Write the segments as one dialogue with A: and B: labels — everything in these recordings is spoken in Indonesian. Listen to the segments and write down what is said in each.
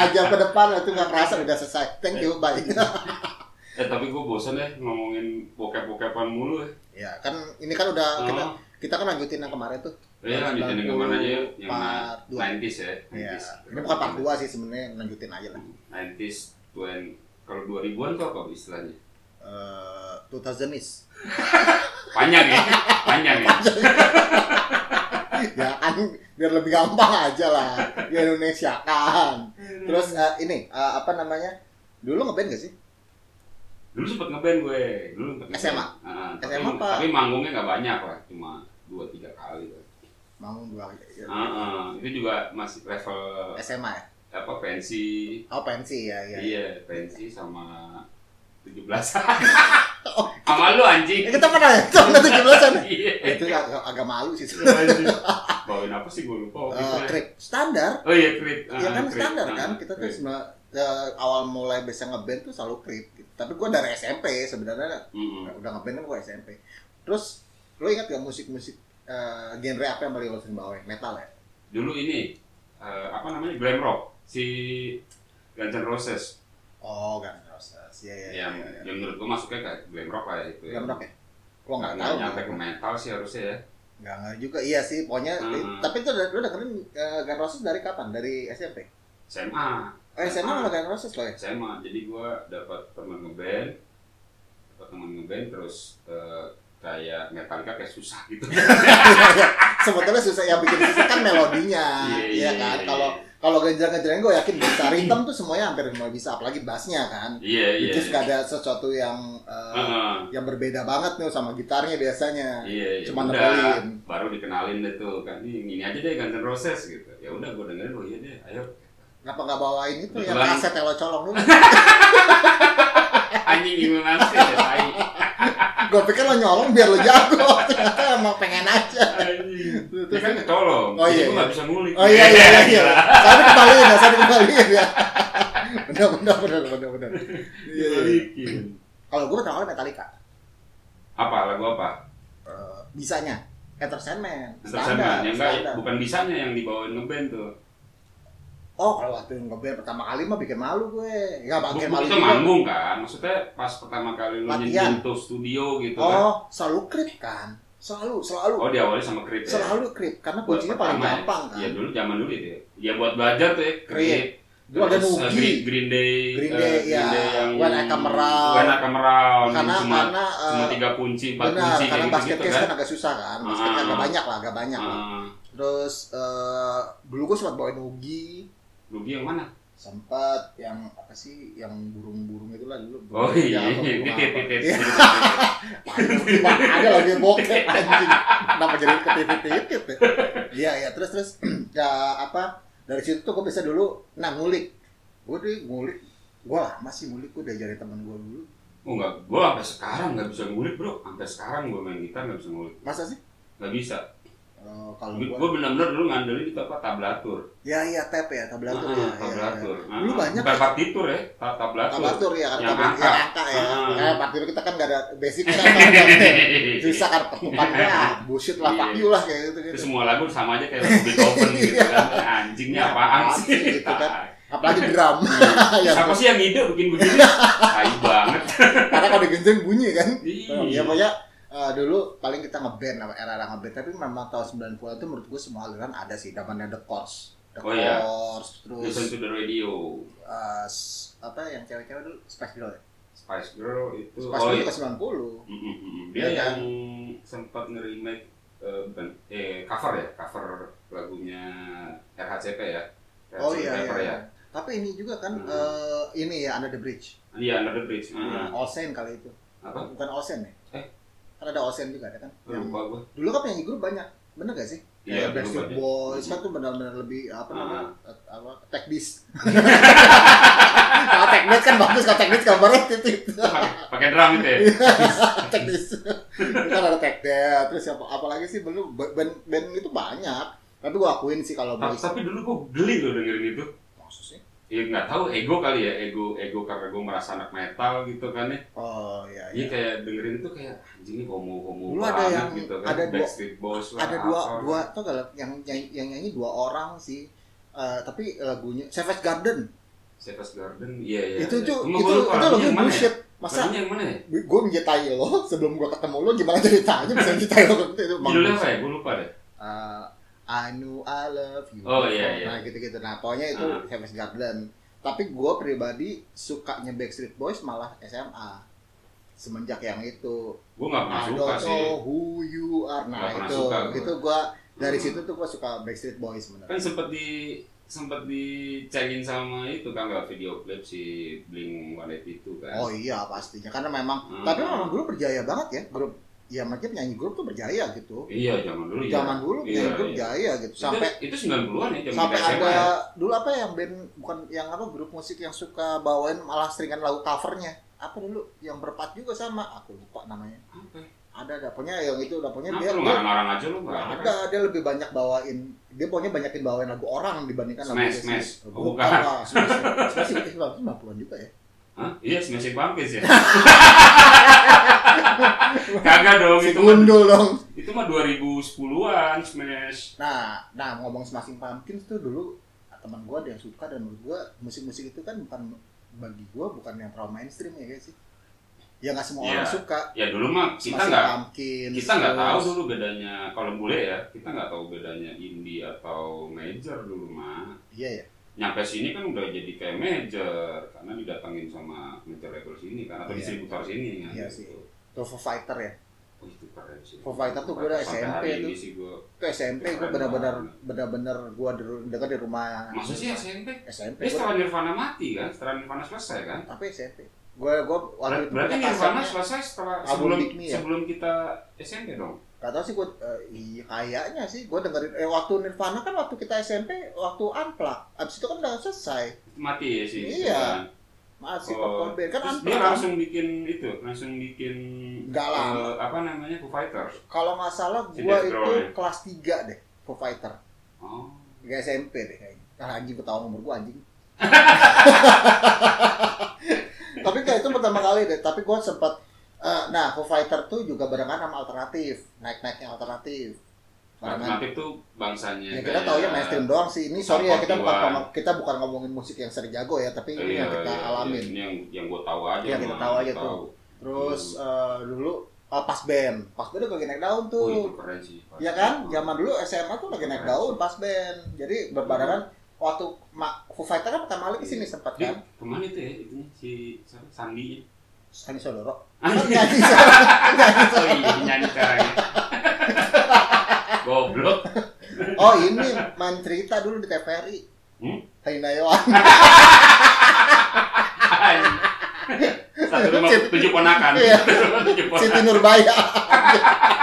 A: depan itu nggak kerasa udah selesai. Thank you, bye.
B: Eh tapi gue bosen ya ngomongin bokep-bokepan mulu ya.
A: ya kan ini kan udah kita
B: Oh,
A: kita kan lanjutin yang kemarin tuh.
B: ya lanjutin yang kemana aja yuk. Yang
A: Part dua.
B: 90s ya.
A: Ya,
B: 90s.
A: ini bukan part 2 sih sebenarnya lanjutin aja lah.
B: 90s, 20 kalau 2000-an tuh apa istilahnya?
A: Eh, 2000 is.
B: Panjang ya, panjang ya.
A: ya kan biar lebih gampang aja lah di Indonesia kan. Terus eh, ini eh, apa namanya? Dulu ngeband gak sih?
B: Dulu sempet ngeband gue, dulu sempet ngeband.
A: SMA?
B: Ah, tapi-
A: SMA apa?
B: Tapi manggungnya nggak banyak lah, cuma dua tiga kali. lah.
A: Mau ya, dua
B: Ah, ah, itu juga masih level
A: SMA ya?
B: apa pensi,
A: Oh pensi ya, ya.
B: iya pensi sama 17
A: Oh,
B: sama lu anjing.
A: Eh, kita pernah ya? Tahun 17-an ya?
B: Iya.
A: Itu agak, agak malu sih.
B: Lu anjing. Bawain apa sih gue lupa waktu itu
A: Eh,
B: ya.
A: krik standar,
B: Oh iya krit.
A: ya
B: Ah,
A: kan
B: krit.
A: standar
B: Ah,
A: kan. Kita tuh
B: krit.
A: sebenarnya eh, awal mulai bisa ngeband tuh selalu krik. Gitu. Tapi gue dari SMP sebenarnya
B: Mm-mm.
A: udah ngeband kan gue SMP. Terus lo ingat gak musik-musik eh, genre apa yang paling lo sering bawain? Metal ya?
B: Dulu ini eh, apa namanya glam rock si Guns N' Roses.
A: Oh, Guns N' Roses. Iya, iya,
B: yang,
A: iya. iya.
B: yang menurut gue masuknya kayak glam rock lah itu.
A: Glam rock ya? Gue
B: Nggak
A: nggak
B: nggak
A: tahu.
B: nyampe ke metal sih harusnya ya.
A: Nggak nggak juga. Iya sih, pokoknya.
B: Hmm.
A: Tapi itu lo dengerin eh, Guns N' Roses dari kapan? Dari SMP?
B: SMA,
A: Eh, SMA
B: Hmm.
A: malah Guns N' Roses lo ya?
B: SMA. Jadi gue dapat teman ngeband, dapat teman ngeband terus eh, kayak Metallica kayak susah gitu.
A: sebetulnya susah yang bikin susah kan melodinya iya kan kalau kalau genjreng genjreng gue yakin bisa ritme tuh semuanya hampir semua bisa apalagi bassnya kan
B: Iya iya. Ah.
A: itu gak ada sesuatu yang eh,
B: Heeh.
A: yang berbeda banget nih sama gitarnya biasanya
B: Iya, iya.
A: Cuma
B: udah,
A: nepelin.
B: baru dikenalin deh tuh kan ini, ini aja deh Guns N' Roses gitu ya udah gue dengerin oh iya deh ayo
A: kenapa nggak bawain itu yang
B: Betulan.
A: kaset yang lo colong dulu
B: anjing gimana sih ya tai
A: gue pikir lo nyolong biar lo jago ternyata emang pengen aja
B: anjing dia
A: terus
B: kan kecolong
A: Oh,
B: jadi
A: iya,
B: gue
A: iya.
B: nggak bisa ngulik
A: oh iya iya iya, iya. saya dikembaliin ya saya dikembaliin ya bener bener bener bener bener iya iya
B: Dibalikin.
A: kalau gue pertama kali Metallica
B: apa lagu apa
A: Eh, bisanya Enter Sandman
B: Mr. Sandman yang enggak bukan bisanya yang dibawain ngeband tuh
A: Oh, kalau waktu ngeband pertama kali mah bikin malu gue. Enggak bikin
B: bukan
A: malu
B: itu
A: juga.
B: manggung kan maksudnya pas pertama kali lu
A: Latihan.
B: nyentuh studio gitu kan
A: Oh, selalu krip kan. Selalu, selalu.
B: oh diawali sama krip ya
A: Selalu krip karena
B: Buat
A: kuncinya paling
B: pertama ya.
A: gampang kan.
B: Iya dulu zaman dulu itu ya. Ya buat belajar tuh ya
A: Krip.
B: krip.
A: Dulu ada Iya.
B: Terus, eh,
A: Nugi.
B: Green, Green Day.
A: Green
B: eh,
A: Day, ya.
B: yang
A: When I Come Around.
B: When I Come Around.
A: karena
B: cuma
A: karena eh,
B: cuma tiga kunci, empat
A: benar,
B: kunci kayak
A: karena
B: gitu,
A: basket case
B: kan.
A: kan agak susah kan. Basketnya agak
B: Ah.
A: banyak lah, agak banyak lah.
B: Ah,
A: Terus eh, dulu gue sempat bawain Ugi,
B: Nugi yang mana?
A: sempat yang apa sih yang burung-burung itu lah dulu.
B: Oh iya,
A: Yang
B: iya,
A: burung
B: titit
A: apa.
B: titit.
A: Iya.
B: titit.
A: Wah, ada lagi bokep anjing. Kenapa jadi ketitit-titit ya? Iya, iya. Terus, terus. ya, apa, dari situ tuh gue bisa dulu, nah ngulik. Gue tuh ngulik, gue lama sih ngulik, gue diajarin temen gue dulu.
B: Oh enggak, gue sampai sekarang nggak bisa ngulik bro. Sampai sekarang gue main gitar nggak bisa ngulik.
A: Masa sih?
B: Nggak bisa.
A: Eh, kalau gue,
B: Gue benar-benar dulu ngandelin itu apa tablatur.
A: ya iya, tap ya, tablatur
B: Ah,
A: ya.
B: tablatur.
A: Ya,
B: Ah,
A: Dulu banyak
B: Bukan partitur ya, ta-
A: ya.
B: tablatur.
A: Tablatur ya, kan
B: Yang
A: tablatur
B: angka.
A: yang angka ya.
B: Ah.
A: Nah, partitur kita kan gak ada basic kan. kan. Susah kan, temukan lah, bullshit lah,
B: Iya.
A: fuck you lah, kayak gitu.
B: Itu
A: gitu.
B: semua lagu sama aja kayak lagu Beethoven gitu kan. Anjingnya apaan
A: Iya. Apaan
B: sih? Ah,
A: sih gitu kan?
B: Tai.
A: Apalagi drum.
B: Iya.
A: Ya,
B: Siapa sih yang ide bikin begini? Tai banget.
A: Karena kalau digenjeng bunyi kan.
B: Iya.
A: Ya pokoknya eh, dulu paling kita ngeband apa era-era ngeband tapi memang tahun 90 itu menurut gue semua aliran ada sih namanya The Course. The
B: Oh, iya.
A: Course terus
B: Listen to the radio.
A: eh, s- apa yang cewek-cewek dulu Spice Girl ya.
B: Spice Girl itu.
A: Spice
B: Oh iya.
A: Girl juga 90.
B: Mm, mm, mm.
A: Iya,
B: Dia
A: kan?
B: yang sempat nge-remake eh, bukan eh cover ya, cover lagunya RHCP ya. Red
A: Oh
B: Chili
A: iya
B: Pepper
A: iya. Tapi ini juga kan
B: Hmm.
A: eh, ini ya Under the Bridge.
B: ya. Iya, Under the Bridge. Ah,
A: All Saint kali itu.
B: Apa?
A: Bukan All Saint ya?
B: Eh. Hmm.
A: Kan ada All Saint juga ada kan. Yang
B: Lupa gua.
A: dulu kan penyanyi grup banyak. Bener gak sih?
B: Iya,
A: Kayak Backstreet
B: dulu
A: Boys
B: Mhm.
A: kan tuh benar-benar lebih apa
B: Ah.
A: namanya? eh, apa? Tech Beast. kalau tech beat kan bagus, kalau tech beat gambarnya titik.
B: Pakai- Pakai drum itu ya.
A: tech beat. Kan ada tech death, terus apa apalagi sih belum band band itu banyak. Tapi gua akuin sih kalau
B: Ta-
A: boys
B: Tapi dulu gua geli loh dengerin itu.
A: maksudnya.
B: Ya nggak tahu ego kali ya, ego ego karena gua merasa anak metal gitu kan ya.
A: Oh iya
B: Iya
A: iya.
B: kayak dengerin itu kayak anjing ini homo homo
A: Dulu ada yang-
B: gitu kan.
A: ada dua-
B: Backstreet Boys lah.
A: Ada dua
B: apa.
A: dua tuh kalau yang nyanyi, yang nyanyi dua orang sih. Eh, tapi lagunya Savage Garden.
B: Savage Garden iya iya
A: itu
B: iya.
A: tuh
B: Cuma
A: itu
B: gua lupa lagunya
A: itu lagu
B: yang mana ya?
A: bullshit masa
B: Lagunya yang mana ya
A: gue menyetai lo sebelum gue ketemu lo gimana ceritanya bisa menyetai lo itu itu bang
B: judulnya apa ya gue lupa deh
A: Eh, I know I love you
B: Oh, iya, iya.
A: nah gitu-gitu nah pokoknya itu
B: Ah.
A: Savage Garden tapi gue pribadi sukanya Backstreet Boys malah SMA semenjak yang itu
B: gue nggak pernah
A: I
B: suka
A: don't
B: sih
A: know who you are nah
B: Nggak pernah
A: itu
B: suka gua.
A: itu gue dari
B: Hmm.
A: situ tuh gue suka Backstreet Boys sebenarnya
B: kan sempet di sempet dicengin sama itu kan nggak video klip si Blink 182 itu kan
A: Oh iya pastinya karena memang
B: Hmm.
A: tapi memang dulu berjaya banget ya grup ya maksudnya penyanyi grup tuh berjaya gitu.
B: iya zaman dulu ya
A: Zaman dulu penyanyi grup berjaya gitu sampai
B: itu, itu 90-an ya zaman
A: sampai
B: kita SMA
A: ada
B: ya.
A: dulu apa yang band bukan yang apa grup musik yang suka bawain malah seringan lagu covernya apa dulu yang berempat juga sama aku lupa namanya
B: Apa?
A: ada ada punya yang itu ada punya
B: Kenapa
A: dia,
B: lu
A: dia
B: ngarang-ngarang aja lu nggak
A: ada dia lebih banyak bawain dia pokoknya banyakin bawain lagu orang dibandingkan lagu
B: Smash,
A: dia
B: Smash.
A: sendiri.
B: Oh,
A: bukan
B: bukan.
A: lah smash smash sih, eh, 90-an juga ya
B: Hah? Iya, Smashing Pumpkins ya. Kagak dong,
A: si
B: itu mah,
A: gundul dong
B: itu mah 2010-an Smash.
A: Nah, nah ngomong Smashing Pumpkins tuh dulu teman gua ada yang suka dan menurut gua musik-musik itu kan bukan bagi gua bukan yang terlalu mainstream ya guys sih. Ya nggak semua
B: Iya.
A: orang suka
B: Ya dulu mah kita
A: Smashing
B: nggak
A: Pumpkins.
B: kita nggak tahu
A: terus-
B: dulu bedanya kalau bule ya kita nggak tahu bedanya indie atau major dulu mah
A: Iya ya.
B: nyampe sini kan udah jadi kayak major karena didatangin sama major label sini kan atau
A: Iya.
B: distributor sini kan
A: Iya sih. Terus Foo Fighter ya.
B: Oh, itu keren sih.
A: Foo Fighter tuh gua udah
B: Sampai
A: SMP
B: hari
A: tuh.
B: ini sih gua.
A: Itu SMP gua
B: Keren
A: benar-benar
B: banget.
A: benar-benar gua di ru- dekat di rumah
B: Maksudnya sih SMP? Dia
A: SMP. Nah, Gua,
B: Eh, setelah Nirvana mati kan, setelah Nirvana selesai kan?
A: tapi SMP. Gua gua
B: Ber-
A: waktu itu
B: Berarti
A: punya
B: Nirvana
A: kasetnya.
B: selesai setelah
A: Album
B: sebelum
A: Big Me ya?
B: sebelum kita SMP dong.
A: Gak tau sih gue, iya kayaknya sih gue dengerin, eh waktu Nirvana kan waktu kita SMP, waktu Unplugged, abis itu kan udah selesai.
B: Mati ya sih.
A: Iya.
B: kan?
A: Masih
B: Oh.
A: popcorn band,
B: Terus
A: kan
B: dia
A: Unplugged kan?
B: langsung bikin itu, langsung bikin
A: Nggak lama.
B: eh, apa namanya Foo Fighter.
A: Kalau nggak salah
B: Si
A: gue
B: Dave
A: itu
B: Grohl-nya.
A: kelas 3 deh, Foo Fighter.
B: Oh.
A: Gak SMP deh kayaknya. Nah anjing gue tau nomor gue anjing. Tapi kayak itu pertama kali deh, tapi gue sempat, eh, nah Foo Fighter tuh juga barengan sama alternatif, naik-naiknya alternatif. Barengan
B: Alternatif Iya, tuh bangsanya.
A: Ya kita
B: kayak-
A: taunya mainstream doang sih. Ini sorry ya kita bukan
B: Forty One.
A: ngomong- kita bukan ngomongin musik yang sering jago ya, tapi
B: Iya,
A: ini yang kita
B: iya,
A: alamin.
B: Ini yang yang gue tahu aja.
A: Iya, kita
B: mah.
A: tahu aja
B: Tahu.
A: tuh. Terus eh, dulu eh, pas band, pas band lagi naik daun
B: Hmm. Oh,
A: tuh.
B: itu keren sih.
A: ya kan? Zaman dulu SMA tuh lagi naik
B: Keren
A: daun
B: sih.
A: pas band. Jadi berbarengan waktu Ma- Foo Fighter kan pertama kali kesini sempat
B: Dia
A: kan?
B: kemana itu ya? Itu si siapa? Sandi.
A: Ani Sodoro.
B: Anjing.
A: Nyanyi
B: Oh
A: Sodoro.
B: iya, nyanyi caranya. Goblok.
A: Oh ini main cerita dulu di TVRI.
B: Hmm?
A: Hai Nayawan.
B: Satu rumah
A: Cip.
B: tujuh ponakan.
A: Iya.
B: Satu rumah tujuh
A: Siti
B: ponakan.
A: Nurbaya.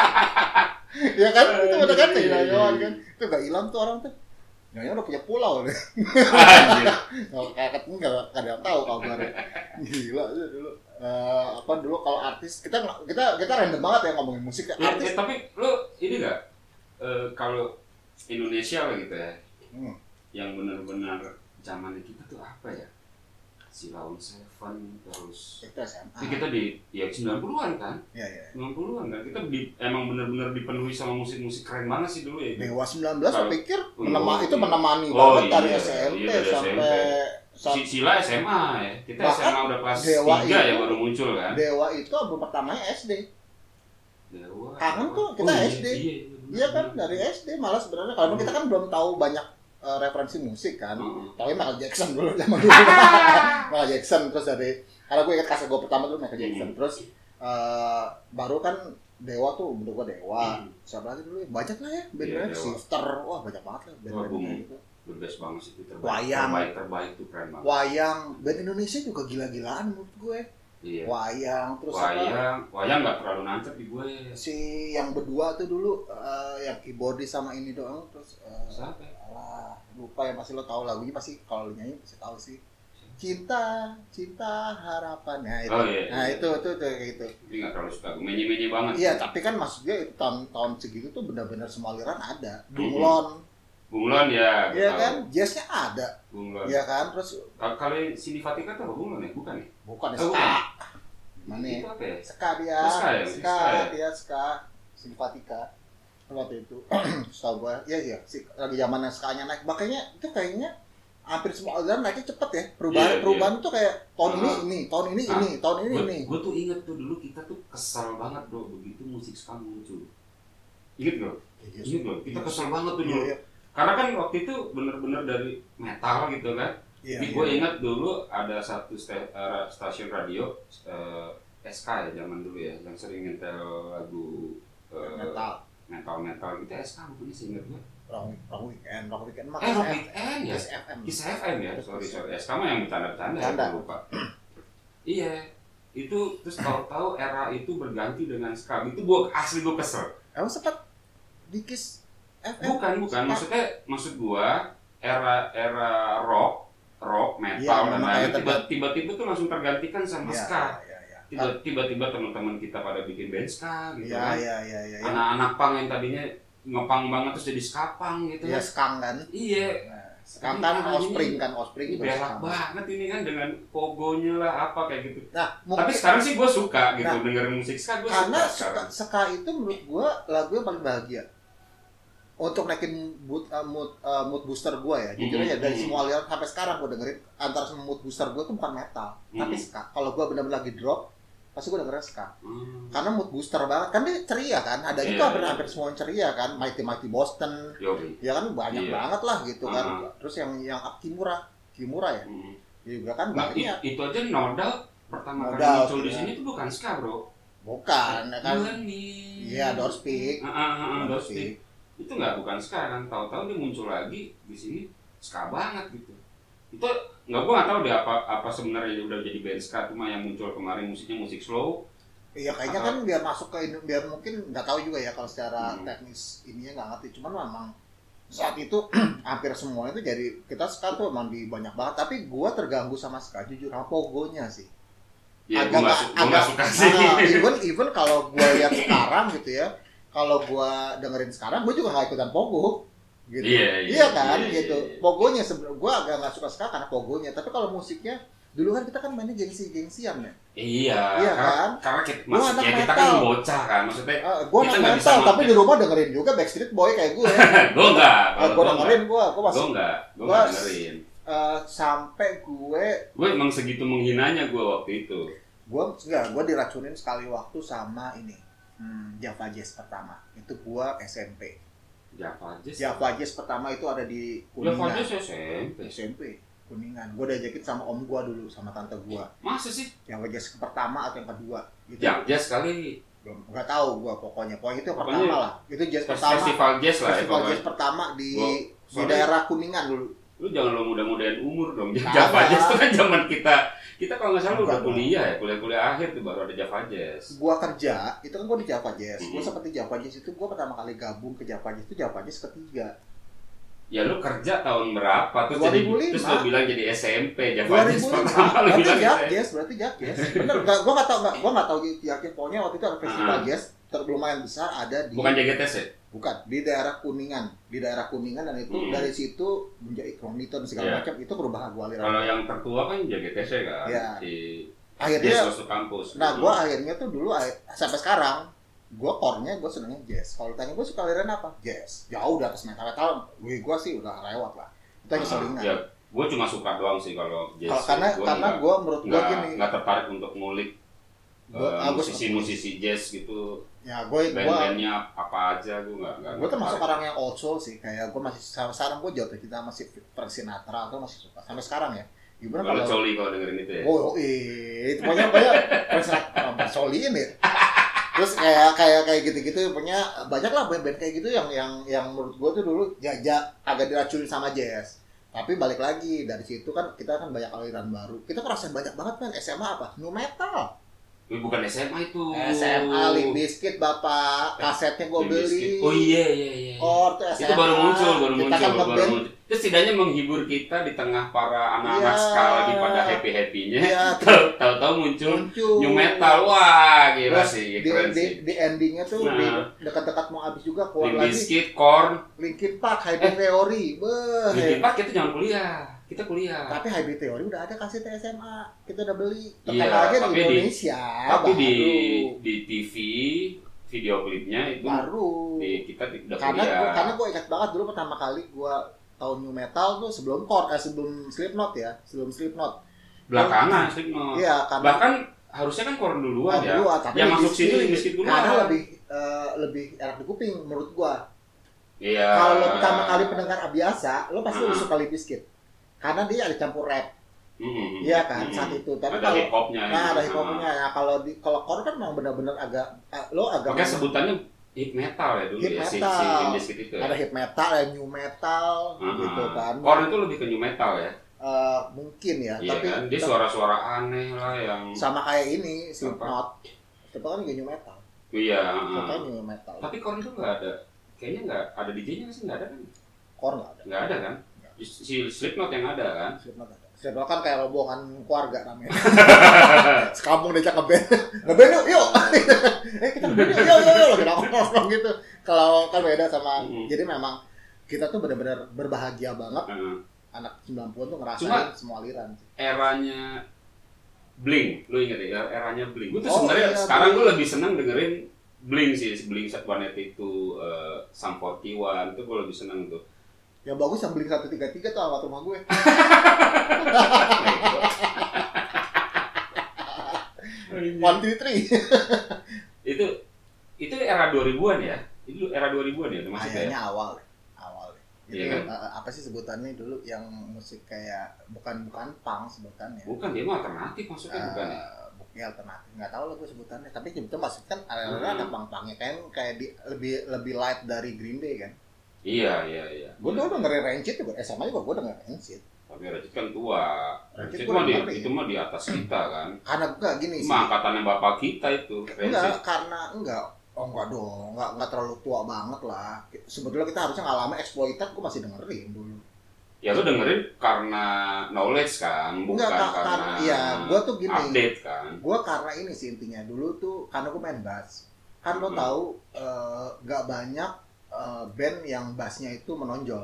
A: ya kan? Itu udah kan Hai
B: Iya, iya,
A: Nayawan
B: iya.
A: kan? Itu gak hilang tuh orang tuh. Nayawan udah punya pulau deh.
B: Anjir.
A: Kalau kakak nggak nggak ada yang tahu kabarnya. Gila aja dulu. Eh, apa dulu kalau artis kita nggak- kita kita random banget ya ngomongin musik
B: Ya, ya,
A: artis.
B: tapi lu ini gak? Eh, kalau Indonesia lah gitu ya,
A: Hmm.
B: yang benar-benar zaman kita tuh apa ya? Si Laun Seven terus
A: Itu SMA.
B: itu kita di ya 90-an kan?
A: Iya iya.
B: 90-an kan? Kita di, emang benar-benar dipenuhi sama musik-musik keren banget sih dulu ya.
A: Dewa 19 saya
B: Kalau-
A: pikir
B: Oh,
A: menema- itu menemani
B: oh,
A: banget dari
B: iya,
A: SMP
B: iya, dari
A: sampai
B: Si
A: sam-
B: Sila SMA ya. Kita
A: Bahkan
B: SMA udah kelas
A: Dewa
B: 3 ya
A: itu-
B: baru muncul kan.
A: Dewa itu album pertamanya SD.
B: Hmm. Dewa.
A: Kangen
B: apa?
A: tuh, kita
B: iya,
A: SD.
B: Iya,
A: Iya kan dari SD malah sebenarnya kalau kita kan belum tahu banyak eh, referensi musik kan.
B: Hmm.
A: Tapi Michael Jackson dulu zaman dulu. Michael Jackson terus dari karena gue ingat kaset gue pertama tuh
B: Hmm.
A: Michael Jackson terus eh, baru kan Dewa tuh menurut gue Dewa siapa lagi dulu ya? banyak lah ya
B: Hmm. Iya,
A: band-band
B: Dewa.
A: Shifter wah banyak banget lah band-band
B: Wah,
A: kayak gitu.
B: The best banget sih itu terbaik.
A: Wayang.
B: Terbaik terbaik tuh keren banget.
A: wayang band Indonesia juga gila-gilaan menurut ya. gue
B: Iya.
A: wayang terus apa
B: Wayang, wayang nggak terlalu nancep di gue.
A: si yang berdua tuh dulu eh, yang keyboardis sama ini doang terus eh,
B: Siapa? ya?
A: Alah, lupa ya pasti lo tahu lagunya pasti kalau lo nyanyi pasti tahu sih. Cinta, cinta harapan Nah, itu.
B: Oh iya.
A: Nah, itu itu itu kayak gitu.
B: Tapi nggak terlalu suka. Gue menye-menye banget.
A: Iya, tapi kan maksudnya itu tahun-tahun segitu tuh benar-benar semua aliran ada. Bunglon,
B: Bunglon ya. gue
A: iya
B: tahu.
A: kan? Jazznya ada,
B: Bunglon.
A: iya kan? Terus
B: Ka- Kalau yang Cindy Fatika tuh apa Bunglon ya? Bukan ya?
A: bukan
B: Oh,
A: ska.
B: bukan.
A: Mana ya?
B: Itu apa ya?
A: Ska dia,
B: Oh, ska ya?
A: ska,
B: Ska ya?
A: dia ska, simpatika iya, waktu itu setahu gue ya iya sih lagi zamannya ska nya naik makanya itu kayaknya hampir semua aliran naiknya cepet ya perubahan
B: Iya, iya.
A: perubahan tuh kayak tahun ini
B: Ah.
A: ini tahun ini
B: Ah.
A: ini tahun ini ini
B: gue tuh inget tuh dulu kita tuh kesal banget bro begitu musik ska muncul inget gak? inget gak? kita
A: Iya.
B: kesal banget tuh
A: Iya,
B: dulu
A: iya.
B: karena kan waktu itu bener-bener dari metal gitu kan
A: Iya,
B: Jadi gue ingat dulu ada satu sta- eh, stasiun radio eh, SK ya zaman dulu ya yang sering nyetel lagu
A: iya.
B: eh,
A: metal
B: metal metal gitu SK bukannya seingat gue
A: rock rock weekend rock weekend mah
B: eh Rock
A: SM.
B: Weekend ya
A: Yes, FM
B: Kiss FM ya sorry sorry SK mah yang bercanda-bercanda ya
A: Bercanda.
B: gue lupa iya itu terus tahu-tahu era itu berganti dengan ska itu gue asli gue kesel
A: emang sempat dikis FM
B: bukan bukan maksudnya maksud gue era era rock rock metal
A: Iya,
B: dan
A: memang
B: lain-lain
A: kayak
B: tiba- tiba-tiba tuh langsung tergantikan sama
A: Iya,
B: ska
A: iya iya
B: Tiba- tiba-tiba teman-teman kita pada bikin band ska gitu
A: iya
B: kan
A: iya iya iya iya
B: anak-anak pang yang tadinya ngepang banget terus jadi skapang gitu
A: Iya,
B: kan
A: skang kan
B: iya
A: Nah, skang kan
B: Ini-
A: offspring kan offspring
B: ini
A: juga
B: belak
A: skang.
B: banget ini kan dengan pogonya lah apa kayak gitu
A: nah
B: tapi
A: mungkin
B: sekarang sih gue suka gitu
A: Nah,
B: dengerin musik ska gue suka
A: karena
B: sekarang
A: ska, ska itu menurut gua lagu yang paling bahagia untuk naikin mood uh, mood, uh, mood booster gua ya jujur
B: Mhm,
A: aja dari
B: mhm.
A: semua aliran sampai sekarang gua dengerin antara semua mood booster gua tuh bukan metal tapi
B: Mhm.
A: ska kalau gua benar-benar lagi drop pasti gua dengerin ska
B: Hmm.
A: karena mood booster banget kan dia ceria kan ada
B: Iya,
A: itu hampir
B: iya.
A: hampir semua yang ceria kan mighty mighty Boston
B: Yoi.
A: ya kan banyak
B: Iya.
A: banget lah gitu kan
B: Ah.
A: terus yang yang Kimura Kimura ya
B: Hmm.
A: ya juga kan
B: Nah,
A: banyak
B: i- itu aja nodal pertama kali
A: Nodal,
B: muncul di
A: iya.
B: sini itu bukan ska bro
A: bukan ya kan
B: nih
A: iya Doorspick
B: Ah, ah, ah,
A: Iya
B: ah, Doorspick.
A: Doorspick.
B: itu nggak bukan sekarang tahu-tahu dia muncul lagi di sini ska banget gitu itu nggak gua nggak tahu deh apa apa sebenarnya dia udah jadi band ska cuma yang muncul kemarin musiknya musik slow
A: Iya kayaknya
B: Atau-
A: kan biar masuk ke Indo- biar mungkin nggak tahu juga ya kalau secara
B: Hmm.
A: teknis ininya nggak ngerti cuman memang saat itu hampir semuanya itu jadi kita sekarang tuh emang di banyak banget tapi gua terganggu sama ska jujur sama pogonya sih
B: ya
A: Agak-
B: gua nggak su- gua nggak
A: agak-
B: suka sih
A: nah, even even kalau gua lihat sekarang gitu ya kalau gua dengerin sekarang gua juga nggak ikutan pogo gitu
B: Iya, iya,
A: kan
B: iya, iya,
A: gitu
B: iya.
A: pogonya sebelum gua agak nggak suka ska karena pogonya tapi kalau musiknya dulu kan kita kan mainnya gengsi gengsian ya
B: iya
A: Iya
B: karena,
A: kan?
B: karena kita,
A: Gua
B: maksud-
A: anak
B: ya kita kan
A: metal.
B: bocah kan maksudnya
A: Ah, gua
B: Kita
A: nggak
B: nggak bisa
A: mental tapi
B: main.
A: di rumah dengerin juga Backstreet Boy kayak gue
B: ya gua nggak
A: Ah,
B: kalau
A: gue
B: gua nggak
A: dengerin gue, gue
B: gua
A: masih
B: nggak gua
A: gua-
B: nggak dengerin
A: eh, sampai gue,
B: gua emang segitu menghinanya gua waktu itu
A: gue enggak, gue diracunin sekali waktu sama ini hmm, Java Jazz pertama. Itu gue SMP.
B: Java Jazz
A: Java Jazz pertama itu ada di
B: Java
A: Kuningan.
B: Jazz SMP
A: SMP Kuningan. Gue diajakin sama om gue dulu, sama tante gue.
B: masa sih
A: Java Jazz pertama atau yang kedua? Itu
B: Java Jazz kali
A: belum nggak tahu gue pokoknya. Pokoknya itu yang
B: Ya. Pokoknya
A: pertama lah. Itu jazz pertama. Festival,
B: festival jazz lah ya pokoknya
A: jazz pertama di
B: Gua-
A: di
B: soalnya-
A: daerah Kuningan dulu.
B: lu jangan lo mudah-mudahan umur dong
A: Kagak.
B: Java Jazz itu kan zaman kita kita kalau nggak salah
A: Bukan
B: udah
A: dong.
B: kuliah ya kuliah-kuliah akhir tuh baru ada Java Jazz
A: gua kerja itu kan gua di Java Jazz gua
B: Mhm.
A: seperti Java Jazz itu gua pertama kali gabung ke Java Jazz itu Java Jazz ketiga
B: ya lu kerja tahun berapa terus jadi
A: 2005.
B: terus lu bilang jadi SMP Java Jazz
A: 2005
B: pertama lu bilang
A: berarti Jazz
B: gitu ya.
A: Jazz berarti Jazz Jazz bener gak, gua gak tau gak, gua gak tau yakin pokoknya waktu itu ada festival
B: Ah.
A: jazz ter lumayan besar ada di
B: bukan JGTS ya
A: bukan, di daerah Kuningan di daerah Kuningan dan itu
B: Mhm.
A: dari situ menjadi kroniton
B: Iya.
A: segala macam itu perubahan gua aliran
B: kalau yang tertua kan JGTS ya kan
A: Iya.
B: di
A: akhirnya
B: Jazz Rosso Kampus
A: Nah, gue akhirnya tuh dulu akhir- sampai sekarang gue core-nya gue senengnya jazz. Kalau ditanya gue suka aliran apa? Jazz. Jauh di atas metal metal. Gue gue sih udah lewat lah. Itu aja selingan.
B: ya gue cuma suka doang sih kalau jazz
A: Kalau karena
B: Gua
A: karena
B: nggak-
A: gue menurut gue
B: nggak
A: gini,
B: nggak tertarik untuk ngulik eh,
A: Gua- ah, gua suka
B: musisi-musisi jazz gitu
A: ya gue gue
B: band-bandnya apa aja gue nggak nggak
A: gue termasuk
B: tertarik.
A: orang yang old soul sih. Kayak gue masih sampai sekarang gue jatuh cinta masih Frank Sinatra atau masih suka sampai sekarang ya. Gimana
B: Kalau
A: kalau
B: coli kalau dengerin itu ya.
A: Oh, eh, pokoknya banyak Frank Sinatra soliin ya. Terus kayak kayak kayak gitu-gitu punya banyak lah band-band kayak gitu yang yang yang menurut gue tuh dulu ya, ja- agak diracunin sama jazz. Tapi balik lagi dari situ kan kita kan banyak aliran baru. Kita ngerasain banyak banget kan SMA apa? Nu metal.
B: Wih, bukan SMA itu.
A: SMA Limp Bizkit Bapak, kasetnya gue
B: Limp
A: beli.
B: Bizkit. Oh iya iya iya.
A: Or tuh SMA.
B: itu baru muncul, baru
A: kita
B: muncul,
A: kan
B: baru
A: ngeband.
B: muncul. Itu setidaknya menghibur kita di tengah para anak-anak
A: Iya.
B: sekali lagi pada happy happynya.
A: Iya,
B: Tahu-tahu muncul
A: muncul.
B: new metal, wah gila
A: Terus
B: sih,
A: di,
B: keren
A: di,
B: sih.
A: di endingnya tuh di
B: Nah.
A: dekat-dekat mau habis juga keluar
B: Limp
A: lagi Eh.
B: Bizkit, Korn,
A: Linkin Park, Hybrid Theory, beh.
B: Linkin Park kita jangan kuliah, kita kuliah.
A: Tapi Hybrid Theory udah ada kasih SMA, kita udah beli.
B: Iya,
A: Terkenal aja di
B: tapi di-
A: Indonesia.
B: Tapi di
A: baru.
B: di TV video klipnya itu
A: baru.
B: di kita di- udah
A: Karena
B: kuliah.
A: gua, karena gue ingat banget dulu pertama kali gue tahun new metal tuh sebelum core eh, sebelum Slipknot ya sebelum Slipknot
B: belakangan Slipknot
A: iya karena
B: bahkan harusnya kan korn duluan
A: Nah,
B: ya
A: duluan, tapi
B: yang
A: lebih
B: masuk sini
A: sedikit.
B: lebih sedikit duluan
A: karena lebih eh, lebih enak di kuping menurut gua
B: iya
A: kalau lo pertama kali pendengar biasa lo pasti
B: Ah.
A: lebih suka Limp Bizkit karena dia ada campur rap
B: Mm-mm.
A: iya kan
B: Mm-mm.
A: saat itu tapi
B: Hmm. ada
A: kalau
B: hip hopnya
A: nah
B: gitu.
A: ada hip hopnya nah kalau di kalau core kan memang benar-benar agak eh, lo
B: Ah.
A: agak
B: makanya sebutannya hip metal ya dulu
A: Hip
B: ya si
A: metal.
B: si Limbiskit itu ya
A: ada hip metal ada new metal
B: Ah.
A: gitu kan
B: Korn itu lebih ke new metal ya
A: Eh, mungkin ya
B: iya
A: tapi
B: kan dia
A: tetap
B: suara-suara aneh lah yang
A: sama kayak ini Slipknot itu kan juga new metal
B: iya
A: itu kan
B: ah.
A: new metal
B: tapi korn itu nggak ada kayaknya nggak ada DJ-nya sih nggak ada kan
A: core nggak ada
B: nggak ada kan si Slipknot yang ada kan
A: Slipknot ada Slipknot kan kayak rombongan keluarga namanya sekampung diajak ngeband ngeband yuk yuk
B: Ah,
A: eh kita ngeband yuk yuk yuk yuk lagi nongkrong gitu kalau kan beda sama
B: Mm.
A: jadi memang kita tuh benar-benar berbahagia banget
B: Heeh.
A: anak 90-an tuh ngerasain
B: Cuma-
A: semua aliran sih.
B: eranya Blink, lu inget ya eranya Blink. Gue tuh
A: Oh,
B: sebenarnya
A: iya,
B: sekarang
A: Blink.
B: gue lebih seneng dengerin Blink sih, Blink Satwanet itu, uh, Sam 41 itu gue lebih seneng tuh.
A: yang bagus yang beli 133 tuh awal rumah gue
B: Nah, gitu. Iya.
A: 133
B: Nah, itu itu era 2000-an ya? Itu era 2000-an ya termasuk ya?
A: kayaknya awal deh. awal deh. itu
B: Iya kan?
A: eh, apa sih sebutannya dulu yang musik kayak bukan bukan punk sebutannya
B: Bukan, dia mah alternatif maksudnya
A: Eh,
B: bukan ya?
A: bukti alternatif nggak tahu lah gue sebutannya tapi sebetulnya maksudnya kan aliran
B: Hmm.
A: ada pang-pangnya kan kayak di, lebih lebih light dari Green Day kan Nah.
B: Iya, iya, iya.
A: gue dulu dengerin Rancid juga
B: eh,
A: SMA juga gue dengerin Rancid
B: Tapi Rajit kan tua.
A: Rajit
B: Rajit
A: gua
B: mah di,
A: dengerin.
B: itu mah di atas kita kan.
A: karena gue gini
B: Itu
A: Iya sih
B: mah angkatannya bapak kita itu. Rajit.
A: enggak karena enggak oh enggak dong enggak enggak terlalu tua banget lah sebetulnya kita harusnya ngalamin exploited gue masih dengerin dulu
B: Ya lu dengerin karena knowledge kan, bukan
A: enggak ka-
B: karena
A: karena iya gue tuh gini
B: update kan.
A: gue karena ini sih intinya dulu tuh karena gue main bass kan lo
B: Hmm.
A: tahu eh, nggak banyak eh, band yang bassnya itu menonjol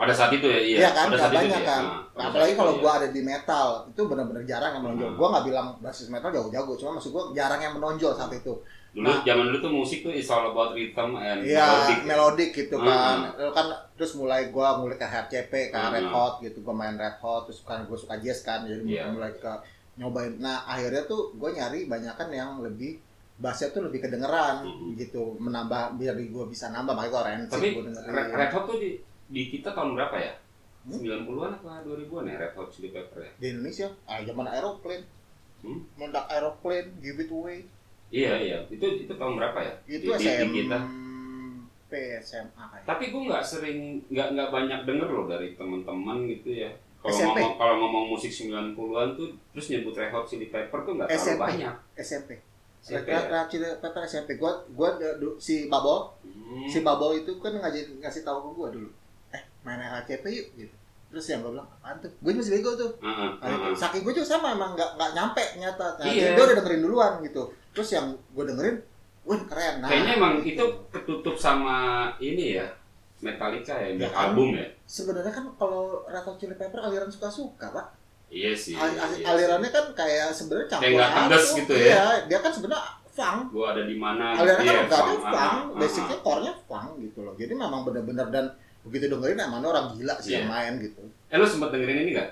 B: Pada saat itu ya, iya.
A: Iya kan,
B: Pada
A: nggak
B: saat itu
A: banyak
B: dia.
A: kan.
B: Nah, pada
A: Nah, apalagi
B: saat
A: kalau
B: itu
A: gua ada di metal, itu benar-benar jarang yang menonjol.
B: Hmm.
A: Gua nggak bilang basis metal jago-jago, cuma maksud gua jarang yang menonjol saat itu.
B: dia. dulu zaman dulu tuh musik tuh is all about rhythm and
A: Nah. Iya,
B: melodic.
A: melodik gitu
B: Hmm.
A: kan. Lalu kan terus mulai gua mulai ke HCP, ke
B: Hmm.
A: Red Hot gitu, gua main Red Hot, terus kan gua suka jazz kan, jadi
B: Iya.
A: mulai ke nyobain. Nah, akhirnya tuh gua nyari banyakan yang lebih bassnya tuh lebih kedengeran
B: Hmm.
A: gitu, menambah biar gua bisa nambah makanya gua rancid
B: Tapi
A: gua dengerin.
B: Red, Red Hot tuh di, di kita tahun berapa ya?
A: Iya. Hmm?
B: 90-an apa 2000-an ya Red Hot Chili Pepper ya?
A: di Indonesia, ah zaman aeroplane.
B: Hmm.
A: Mendak aeroplane, give it away.
B: Iya, iya. Itu itu tahun berapa ya?
A: itu
B: Di- di- di kita.
A: SMP SMA kayaknya.
B: Tapi gua nggak sering nggak nggak banyak denger loh dari teman-teman gitu ya. Kalau
A: SMP.
B: ngomong kalau ngomong musik 90-an tuh terus nyebut Red Hot Chili Pepper tuh nggak terlalu
A: SMP.
B: banyak.
A: SMP
B: SMP
A: Red-
B: ya?
A: Red Chili Pepper SMP gua gua eh, du- si Babol
B: Hmm.
A: si Babol itu kan ngajin ngasih tahu ke gua dulu eh main HCP yuk gitu terus yang gua bilang apaan tuh gua masih bego tuh Nah,
B: Heeh, heeh.
A: Saking gue juga sama emang nggak nggak nyampe nyata nah,
B: Hmm. Iya.
A: dia udah dengerin duluan gitu terus yang gue dengerin wah keren nah
B: Kayaknya emang
A: gitu.
B: itu ketutup sama ini ya Metallica ya, black
A: Ya kan?
B: album ya.
A: sebenarnya kan kalau Red Hot Chili Pepper aliran suka-suka pak
B: Iya sih.
A: Al-
B: iya
A: al-
B: sih.
A: alirannya kan kayak sebenarnya campur
B: nggak tegas
A: aduk.
B: gitu ya.
A: Iya, dia kan sebenarnya funk
B: Gua ada di mana?
A: aliran
B: iya,
A: kan enggak ada
B: funk, ah,
A: funk,
B: ah,
A: basicnya core-nya funk gitu loh. Jadi memang bener-bener dan begitu dengerin emang orang gila sih yang main gitu.
B: ah. Eh lu sempet dengerin ini nggak?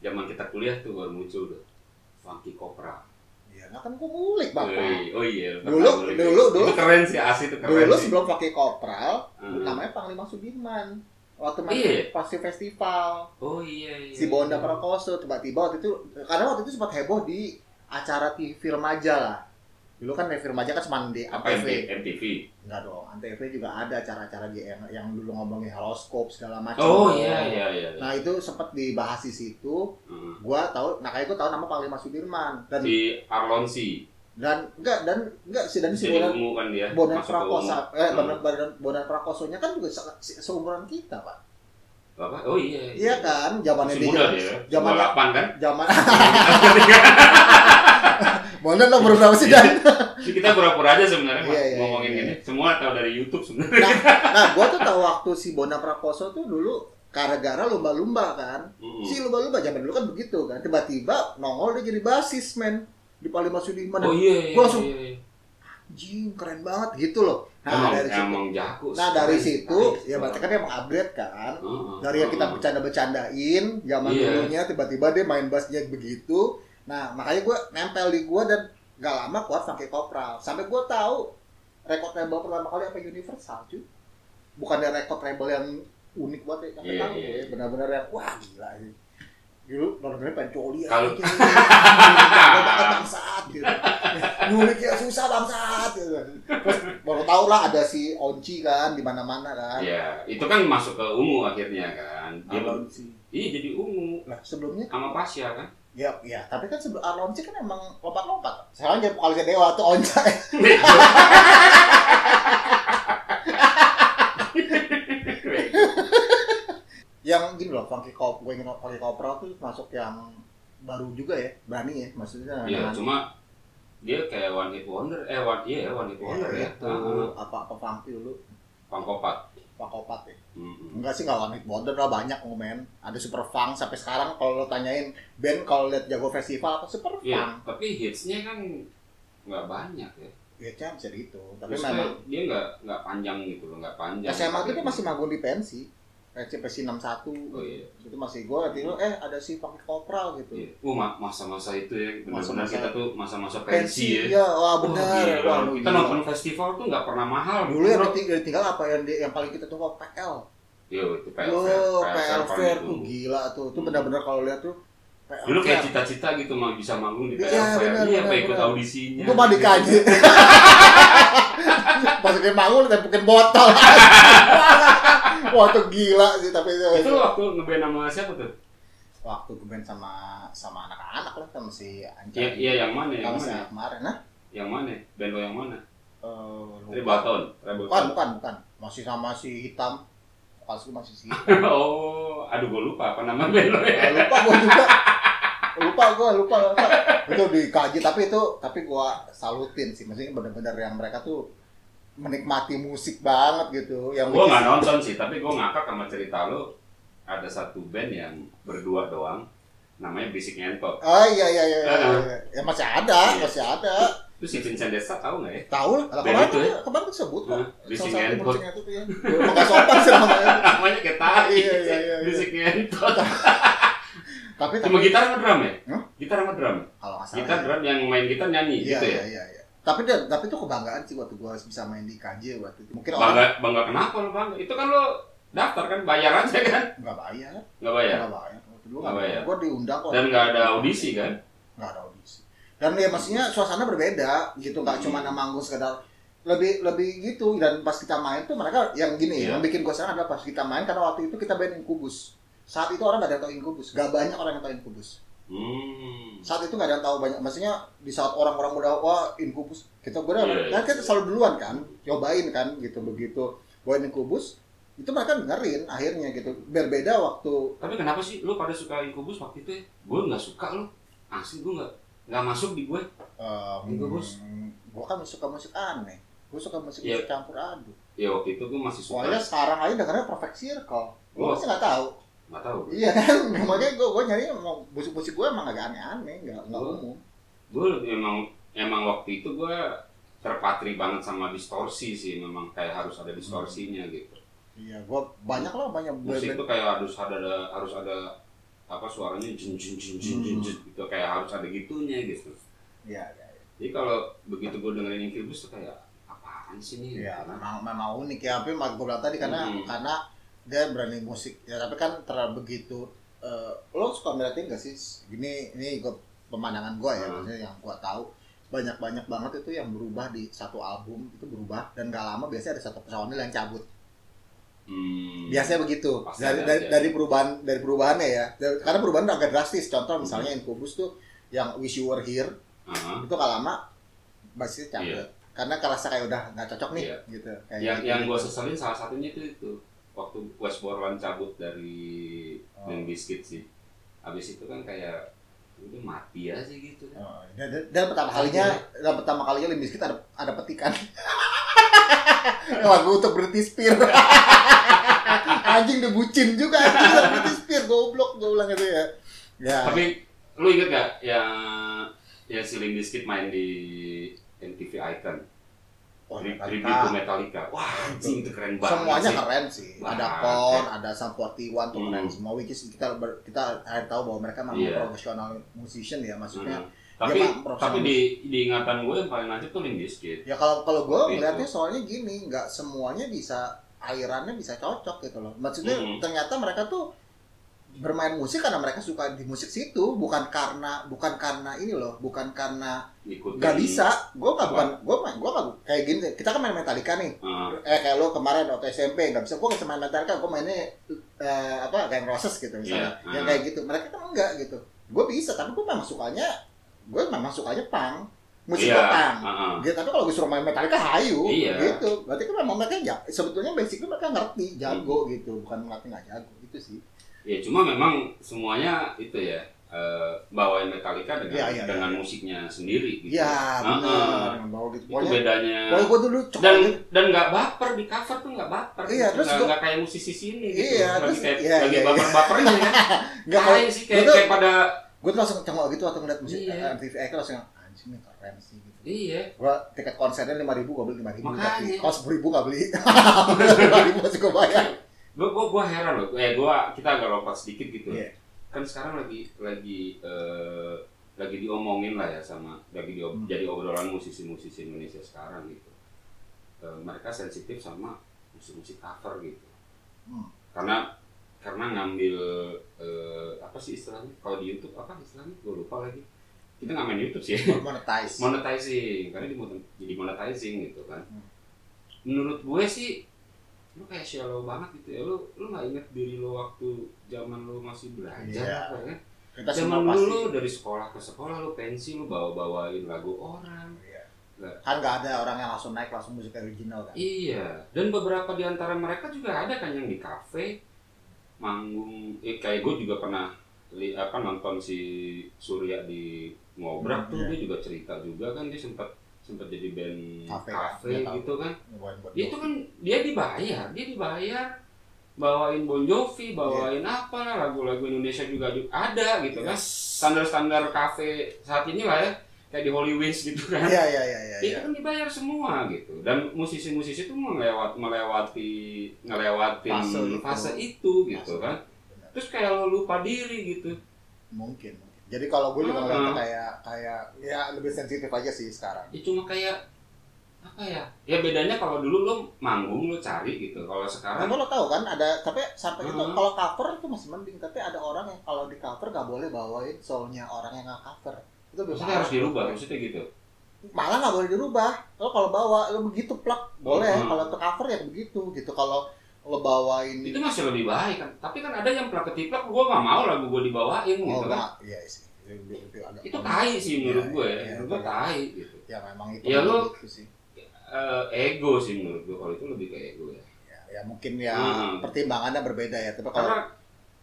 B: Zaman kita kuliah tuh baru muncul tuh. Funky Cobra.
A: Iya, nah kan gue ngulik bapak.
B: Woi, Oh iya. lu tahu,
A: Dulu-
B: lu.
A: dulu, dulu.
B: Itu keren sih, asli itu keren. sih.
A: Dulu
B: Ah,
A: sebelum pakai kopral,
B: Heeh.
A: namanya Panglima Sudirman. Waktu main
B: Iya.
A: pasti festival,
B: Oh iya iya.
A: si Bonda Prakoso tiba-tiba waktu itu karena waktu itu sempat heboh di acara TV remaja lah. Dulu kan TV remaja kan cuma di
B: apa
A: ATV.
B: MTV? MTV.
A: Enggak dong, Antv juga ada acara-acara di- yang, yang dulu ngomongin horoskop segala macam.
B: Oh iya iya iya.
A: Nah itu sempat dibahas di situ.
B: Heeh.
A: Gua tahu, nah kayak gua tahu nama Panglima Sudirman dan
B: Ah. Si Arlonsi.
A: dan enggak dan enggak sih dan si
B: Jadi
A: Bonan
B: ungu kan dia.
A: Bonan
B: masuk ke ungu.
A: Prakosa, eh
B: Hmm.
A: Bonan, Bonan, Bonan Prakosonya kan juga se- se- seumuran kita pak.
B: Apa? Oh iya.
A: Iya kan, zamannya
B: Masih
A: dia.
B: muda dia.
A: zaman- ya.
B: 28 kan?
A: Zaman Iya, Bonan nomor berapa
B: Iya.
A: sih dan?
B: Jadi kita pura-pura aja sebenarnya Mas,
A: Iya, iya,
B: ngomongin
A: iya.
B: ini. Semua tahu dari YouTube sebenarnya.
A: Nah, nah gua tuh tahu waktu si Bonan Prakoso tuh dulu gara-gara lumba-lumba kan.
B: Mm-mm.
A: Si lumba-lumba zaman dulu kan begitu kan. Tiba-tiba nongol dia jadi basis men di Palembang Sudirman.
B: Oh iya. iya,
A: Gua langsung-
B: iya, iya.
A: anjing keren banget gitu loh. Nah,
B: emang,
A: dari situ.
B: emang jago
A: Nah,
B: sih. Keren.
A: dari
B: iya.
A: situ
B: Keren.
A: ya berarti kan dia mengupgrade kan.
B: Heeh.
A: Dari yang kita
B: Heeh.
A: bercanda-bercandain zaman
B: Iya.
A: dulunya tiba-tiba dia main bassnya begitu. Nah, makanya gue nempel di gua dan gak lama kuat pakai kopral. Sampai gua tahu rekod rebel pertama kali apa universal cuy. Bukannya rekod rebel yang unik banget ya, tapi
B: Iya,
A: tahu
B: iya.
A: gua ya, benar-benar yang wah gila ini. Dulu benar-benar pengen coli aja.
B: Kalau-
A: gitu. Gila banget bangsat gitu. Nyulik ya susah bangsat gitu. Terus baru tahu lah ada si Onci kan di mana-mana kan.
B: Iya, itu kan masuk ke ungu akhirnya kan. Dia ber-
A: Alonsi.
B: iya jadi ungu
A: Nah, sebelumnya
B: sama Pasya kan.
A: ya ya, tapi kan sebelum Alonsi kan emang lompat-lompat. Sekarang jadi vokalisnya Dewa tuh Onca. yang gini loh, Funky Cop, gue ingin Funky Kopral tuh masuk yang baru juga ya, berani ya maksudnya.
B: Iya,
A: dengan-
B: cuma dia kayak one hit wonder, eh one iya one hit wonder
A: Iya,
B: ya.
A: itu
B: Heeh,
A: apa-apa Funky dulu,
B: Pangkopat.
A: Pak Kopat ya.
B: Mm-mm.
A: Enggak sih, enggak one hit wonder lah banyak oh, men. Ada Super Funk sampai sekarang kalau lo tanyain band kalau lihat Jago Festival apa Super Funk.
B: Iya, tapi hitsnya kan nggak banyak ya.
A: Ya kan bisa dihitung, tapi memang
B: Maksudnya dia nggak nggak panjang gitu loh, nggak panjang.
A: SMA tuh dia masih magung di pensi. RCPC 61
B: gitu. Oh iya.
A: itu masih gue nanti lo eh ada si pakai kopral gitu.
B: Iya. Oh, ma- masa-masa itu ya benar-benar
A: Masa-masa-
B: kita tuh masa-masa pensi
A: Pensi
B: ya.
A: ya, wah
B: Wah,
A: benar.
B: gila.
A: Wah, lu
B: kita
A: gila.
B: nonton festival tuh nggak pernah mahal.
A: dulu yang ditinggal, ditinggal apa yang di- yang paling kita coba PL.
B: Yo, itu PL
A: Yo,
B: PL
A: PL
B: Fair
A: Fair tuh
B: dulu.
A: gila tuh. Itu benar-benar kalau lihat tuh PL.
B: gitu. Dulu kayak
A: Fair.
B: cita-cita gitu mah bisa manggung di
A: Iya,
B: PL Fair.
A: benar,
B: Iya,
A: benar,
B: apa ikut
A: benar.
B: audisinya. Iya.
A: Itu mah dikaji. Masukin manggul tempukin botol. Wah, itu gila sih tapi itu.
B: Itu waktu ngeband sama siapa tuh?
A: Waktu gue main sama sama anak-anak lah sama si Anca.
B: Iya, iya yang mana? Yang
A: Sama si
B: mana?
A: kemarin nah.
B: Yang mana? Band lo yang mana?
A: Eh,
B: Rebel
A: lupa.
B: Town. Rebel
A: Bukan,
B: Town.
A: bukan, bukan. Masih sama si hitam. Pas gue masih si hitam.
B: Oh, aduh gue lupa apa nama band lo ya.
A: Eh, lupa gue juga. Lupa gue, lupa, lupa. Itu dikaji tapi itu tapi gue salutin sih. Maksudnya benar-benar yang mereka tuh menikmati musik banget gitu. Yang
B: Gue
A: bikin-
B: nggak nonton sih, tapi gue ngakak sama cerita lo. Ada satu band yang berdua doang, namanya Basic Ngentot.
A: Oh iya iya iya, iya,
B: Ah.
A: iya. ya masih ada,
B: Iya.
A: masih ada.
B: Itu si Vincent Desa tau nggak ya?
A: Tahu lah, kalau
B: Dan
A: kemarin
B: itu ya?
A: kemarin disebut kok.
B: Hah? Di
A: Salah
B: sini
A: satu
B: handphone.
A: musiknya itu tuh ya. Emang nggak sopan sih namanya.
B: Namanya kayak tai.
A: Iya, iya, iya, iya.
B: Basic Ngentot.
A: Tapi tapi
B: Cuma gitar sama drum ya?
A: Hah?
B: Gitar sama drum.
A: kalau nggak salah.
B: Gitar
A: ya.
B: drum yang main gitar nyanyi
A: Iya
B: gitu ya.
A: iya iya. iya. Tapi dia- tapi itu kebanggaan sih waktu gua bisa main di KJ waktu itu. Mungkin orang
B: Bangga bangga kenapa lo bangga? Itu kan lo daftar kan bayar aja kan?
A: nggak bayar,
B: Nggak bayar.
A: nggak bayar.
B: Iya. Nggak
A: Waktu dulu nggak
B: bayar.
A: bayar. Gua diundang kok.
B: Dan nggak ada audisi kan?
A: Nggak ada audisi. Dan ya maksudnya suasana berbeda gitu, nggak
B: Hmm.
A: cuma nama manggung sekedar lebih lebih gitu dan pas kita main tuh mereka yang gini
B: Iya.
A: yang bikin gua senang adalah pas kita main karena waktu itu kita band Incubus saat itu orang nggak ada yang tahu Incubus gak banyak orang yang tahu Incubus
B: Hmm.
A: saat itu nggak ada yang tahu banyak maksudnya di saat orang-orang udah wah Incubus kita gue udah
B: Iya, iya.
A: kan kita selalu duluan kan cobain kan gitu begitu gue Incubus itu mereka dengerin akhirnya gitu berbeda waktu
B: Tapi kenapa sih lo pada suka Incubus waktu itu ya? Gue nggak suka lo. Asli gue nggak nggak masuk di gue.
A: um,
B: Incubus?
A: gue kan suka musik aneh gue suka musik
B: Iya.
A: musik campur aduk
B: Ya waktu itu gue masih suka.
A: soalnya sekarang aja dengernya perfect circle gue
B: Wah.
A: masih nggak tahu
B: Nggak tahu.
A: iya kan makanya gue gue nyari mau musik-musik gue emang agak aneh-aneh nggak nggak
B: Wah.
A: umum
B: Gue emang emang waktu itu gue terpatri banget sama distorsi sih. Memang kayak harus ada distorsinya gitu.
A: iya gue banyak lah banyak
B: musik
A: band-band
B: tuh kayak harus ada ada- harus ada apa suaranya jeng jeng jeng jeng jeng jeng
A: Hmm.
B: gitu kayak harus ada gitunya gitu
A: iya
B: jadi kalau begitu gue dengerin Incubus tuh kayak apaan sih nih
A: Ya,
B: Karena-
A: memang memang unik ya. Tapi mak gue bilang tadi karena
B: Mhm.
A: karena dia berani musik. Ya, tapi kan terlalu begitu. eh, lo suka ngeliatin gak sih? Gini, ini gue pemandangan gue ya,
B: Hmm.
A: maksudnya yang gue tahu banyak-banyak banget itu yang berubah di satu album itu berubah dan gak lama biasanya ada satu personil yang cabut.
B: hmm,
A: Biasanya begitu.
B: Pasti
A: Dari
B: ada,
A: dari,
B: ada.
A: dari perubahan dari perubahannya ya. Dari- karena perubahan agak drastis. Contoh misalnya Incubus tuh yang Wish You Were Here
B: aha.
A: itu gak lama basisnya cabut.
B: Iya.
A: Karena kerasa kayak udah nggak cocok nih
B: Iya.
A: gitu. Kayak
B: yang
A: gitu.
B: yang gue seselin salah satunya itu itu waktu Wes Borland cabut dari
A: Oh.
B: Limp Bizkit sih abis itu kan kayak udah mati aja gitu kan
A: Oh, Dan, dan- dan pertama kalinya, dan pertama kalinya Limp Bizkit ada ada petikan. Lagu untuk Britney Spears. anjing dibucin juga anjing untuk Britney Spears goblok gue ulang itu ya. Ya.
B: tapi lu inget gak yang ya si Limp Bizkit main di MTV Icon
A: Korn
B: Tribute to
A: Oh, Metallica.
B: Metallica. Wah, anjing itu keren banget.
A: Semuanya
B: sih.
A: keren sih. Ada
B: Banget.
A: Korn, ada Sum 41 tuh keren
B: Hmm.
A: semua. Which is kita ber- kita akhirnya tahu bahwa mereka memang
B: Iya.
A: profesional musician ya maksudnya.
B: Hmm. Tapi
A: mah profesional.
B: tapi di di ingatan gue yang paling lanjut tuh Limp Bizkit.
A: Ya kalau kalau
B: Gitu.
A: gue ngeliatnya soalnya gini, nggak semuanya bisa airannya bisa cocok gitu loh. Maksudnya
B: Mhm.
A: ternyata mereka tuh bermain musik karena mereka suka di musik situ, bukan karena bukan karena ini loh, bukan karena
B: Ikutin.
A: nggak bisa. Gue nggak
B: Apa?
A: bukan gue main gue nggak kayak gini. deh. Kita kan main Metallica nih.
B: Eh,
A: Eh kayak lo kemarin waktu SMP nggak bisa gue nggak bisa main Metallica, gue mainnya eh, apa Guns N' Roses gitu misalnya,
B: Iya,
A: yang
B: ah.
A: kayak gitu. Mereka kan enggak gitu. Gue bisa, tapi gue memang sukanya gue memang sukanya punk, musik
B: iya,
A: punk.
B: heeh.
A: Gitu, tapi kalau disuruh main Metallica hayu
B: Iya.
A: gitu. Berarti kan memang mereka ya, sebetulnya basicnya mereka ngerti
B: Hmm.
A: jago gitu, bukan ngerti nggak jago gitu sih.
B: Ya cuma memang semuanya itu ya eh, bawain Metallica dengan
A: Iya, iya,
B: dengan
A: iya.
B: musiknya sendiri gitu.
A: Iya,
B: Heeh.
A: benar. Dengan bawa gitu.
B: Itu
A: Pokoknya,
B: bedanya.
A: pokoknya gue dulu gitu. cocok
B: dan
A: banget.
B: dan nggak baper di cover tuh nggak baper
A: Iya, terus
B: nggak
A: gua-
B: nggak kayak musisi sini gitu
A: Iya,
B: lagi
A: terus-
B: kayak
A: iya,
B: lagi
A: iya, iya.
B: baper bapernya ya
A: nggak
B: Kayak
A: kalau
B: sih kayak,
A: itu-
B: kayak pada
A: gue tuh langsung cengok gitu waktu ngeliat musik
B: Iya.
A: MTV Eko langsung anjing ini keren sih gitu.
B: iya
A: Gue tiket konsernya lima ribu, gue beli lima ribu.
B: Makanya.
A: Tapi kalau sepuluh ribu nggak beli, lima ribu masih gue bayar.
B: gua gua gua heran loh eh gua kita agak lompat sedikit gitu
A: Iya.
B: kan sekarang lagi lagi eh, lagi diomongin lah ya sama lagi diob-
A: Hmm.
B: jadi obrolan musisi-musisi Indonesia sekarang gitu Eh, mereka sensitif sama musik-musik cover gitu
A: Hmm.
B: karena karena ngambil eh, apa sih istilahnya kalau di YouTube apa istilahnya gue lupa lagi kita nggak main YouTube sih
A: Monetize.
B: monetizing karena di jadi monetizing gitu kan
A: Hmm.
B: menurut gue sih lu kayak shallow banget gitu ya lu lu nggak inget diri lu waktu zaman lu masih
A: Iya.
B: belajar apa ya
A: Kita
B: zaman
A: semua
B: lu,
A: pasti.
B: lu dari sekolah ke sekolah lu pensi lu bawa bawain lagu orang
A: Iya. Kan nggak ada orang yang langsung naik langsung musik original kan.
B: iya dan beberapa di antara mereka juga ada kan yang di kafe manggung eh, kayak gue juga pernah li, apa nonton si Surya di ngobrak
A: Hmm,
B: tuh
A: iya.
B: dia juga cerita juga kan dia sempat sempat jadi band
A: Kafe.
B: kafe,
A: Dia tahu.
B: gitu kan
A: Nyobain buat
B: Dia itu kan dia dibayar, dia dibayar bawain Bon Jovi, bawain
A: Iya.
B: apa lah lagu-lagu Indonesia juga ju- ada gitu kan. Standar-standar kafe saat ini lah ya, kayak di Holy Wings gitu kan.
A: Iya iya iya iya.
B: Itu kan dibayar semua gitu. Dan musisi-musisi itu melewat melewati ngelewatin
A: Fase
B: fase
A: itu.
B: itu, gitu kan.
A: Benar.
B: Terus kayak lo lupa diri gitu.
A: Mungkin. mungkin. Jadi kalau gue juga ngeliatnya
B: Heeh.
A: kayak kayak ya lebih sensitif aja sih sekarang.
B: Ya cuma kayak apa ya? Ya bedanya kalau dulu lo manggung lo cari gitu. Kalau sekarang
A: Kamu lo tau kan ada tapi sampai itu
B: Heeh.
A: kalau cover itu masih mending tapi ada orang yang kalau di cover nggak boleh bawain soulnya orang yang nggak cover itu
B: maksudnya harus dirubah maksudnya gitu.
A: malah nggak boleh dirubah lo kalau bawa lo begitu plak boleh
B: Heeh.
A: kalau untuk cover ya begitu gitu kalau lo bawain
B: itu masih lebih baik kan tapi kan ada yang plak ketiplak gue gak mau lagu gue dibawain
A: oh
B: gitu kan
A: nggak iya sih Lebih- lebih agak-
B: itu tai sih menurut
A: Iya,
B: gue ya.
A: iya,
B: menurut
A: iya.
B: gue tai gitu
A: ya memang itu
B: Ya, lo-
A: begitu sih
B: Eh, ego sih menurut gue kalau itu lebih ke ego ya
A: ya, ya mungkin ya
B: Heeh.
A: pertimbangannya berbeda ya tapi kalau
B: karena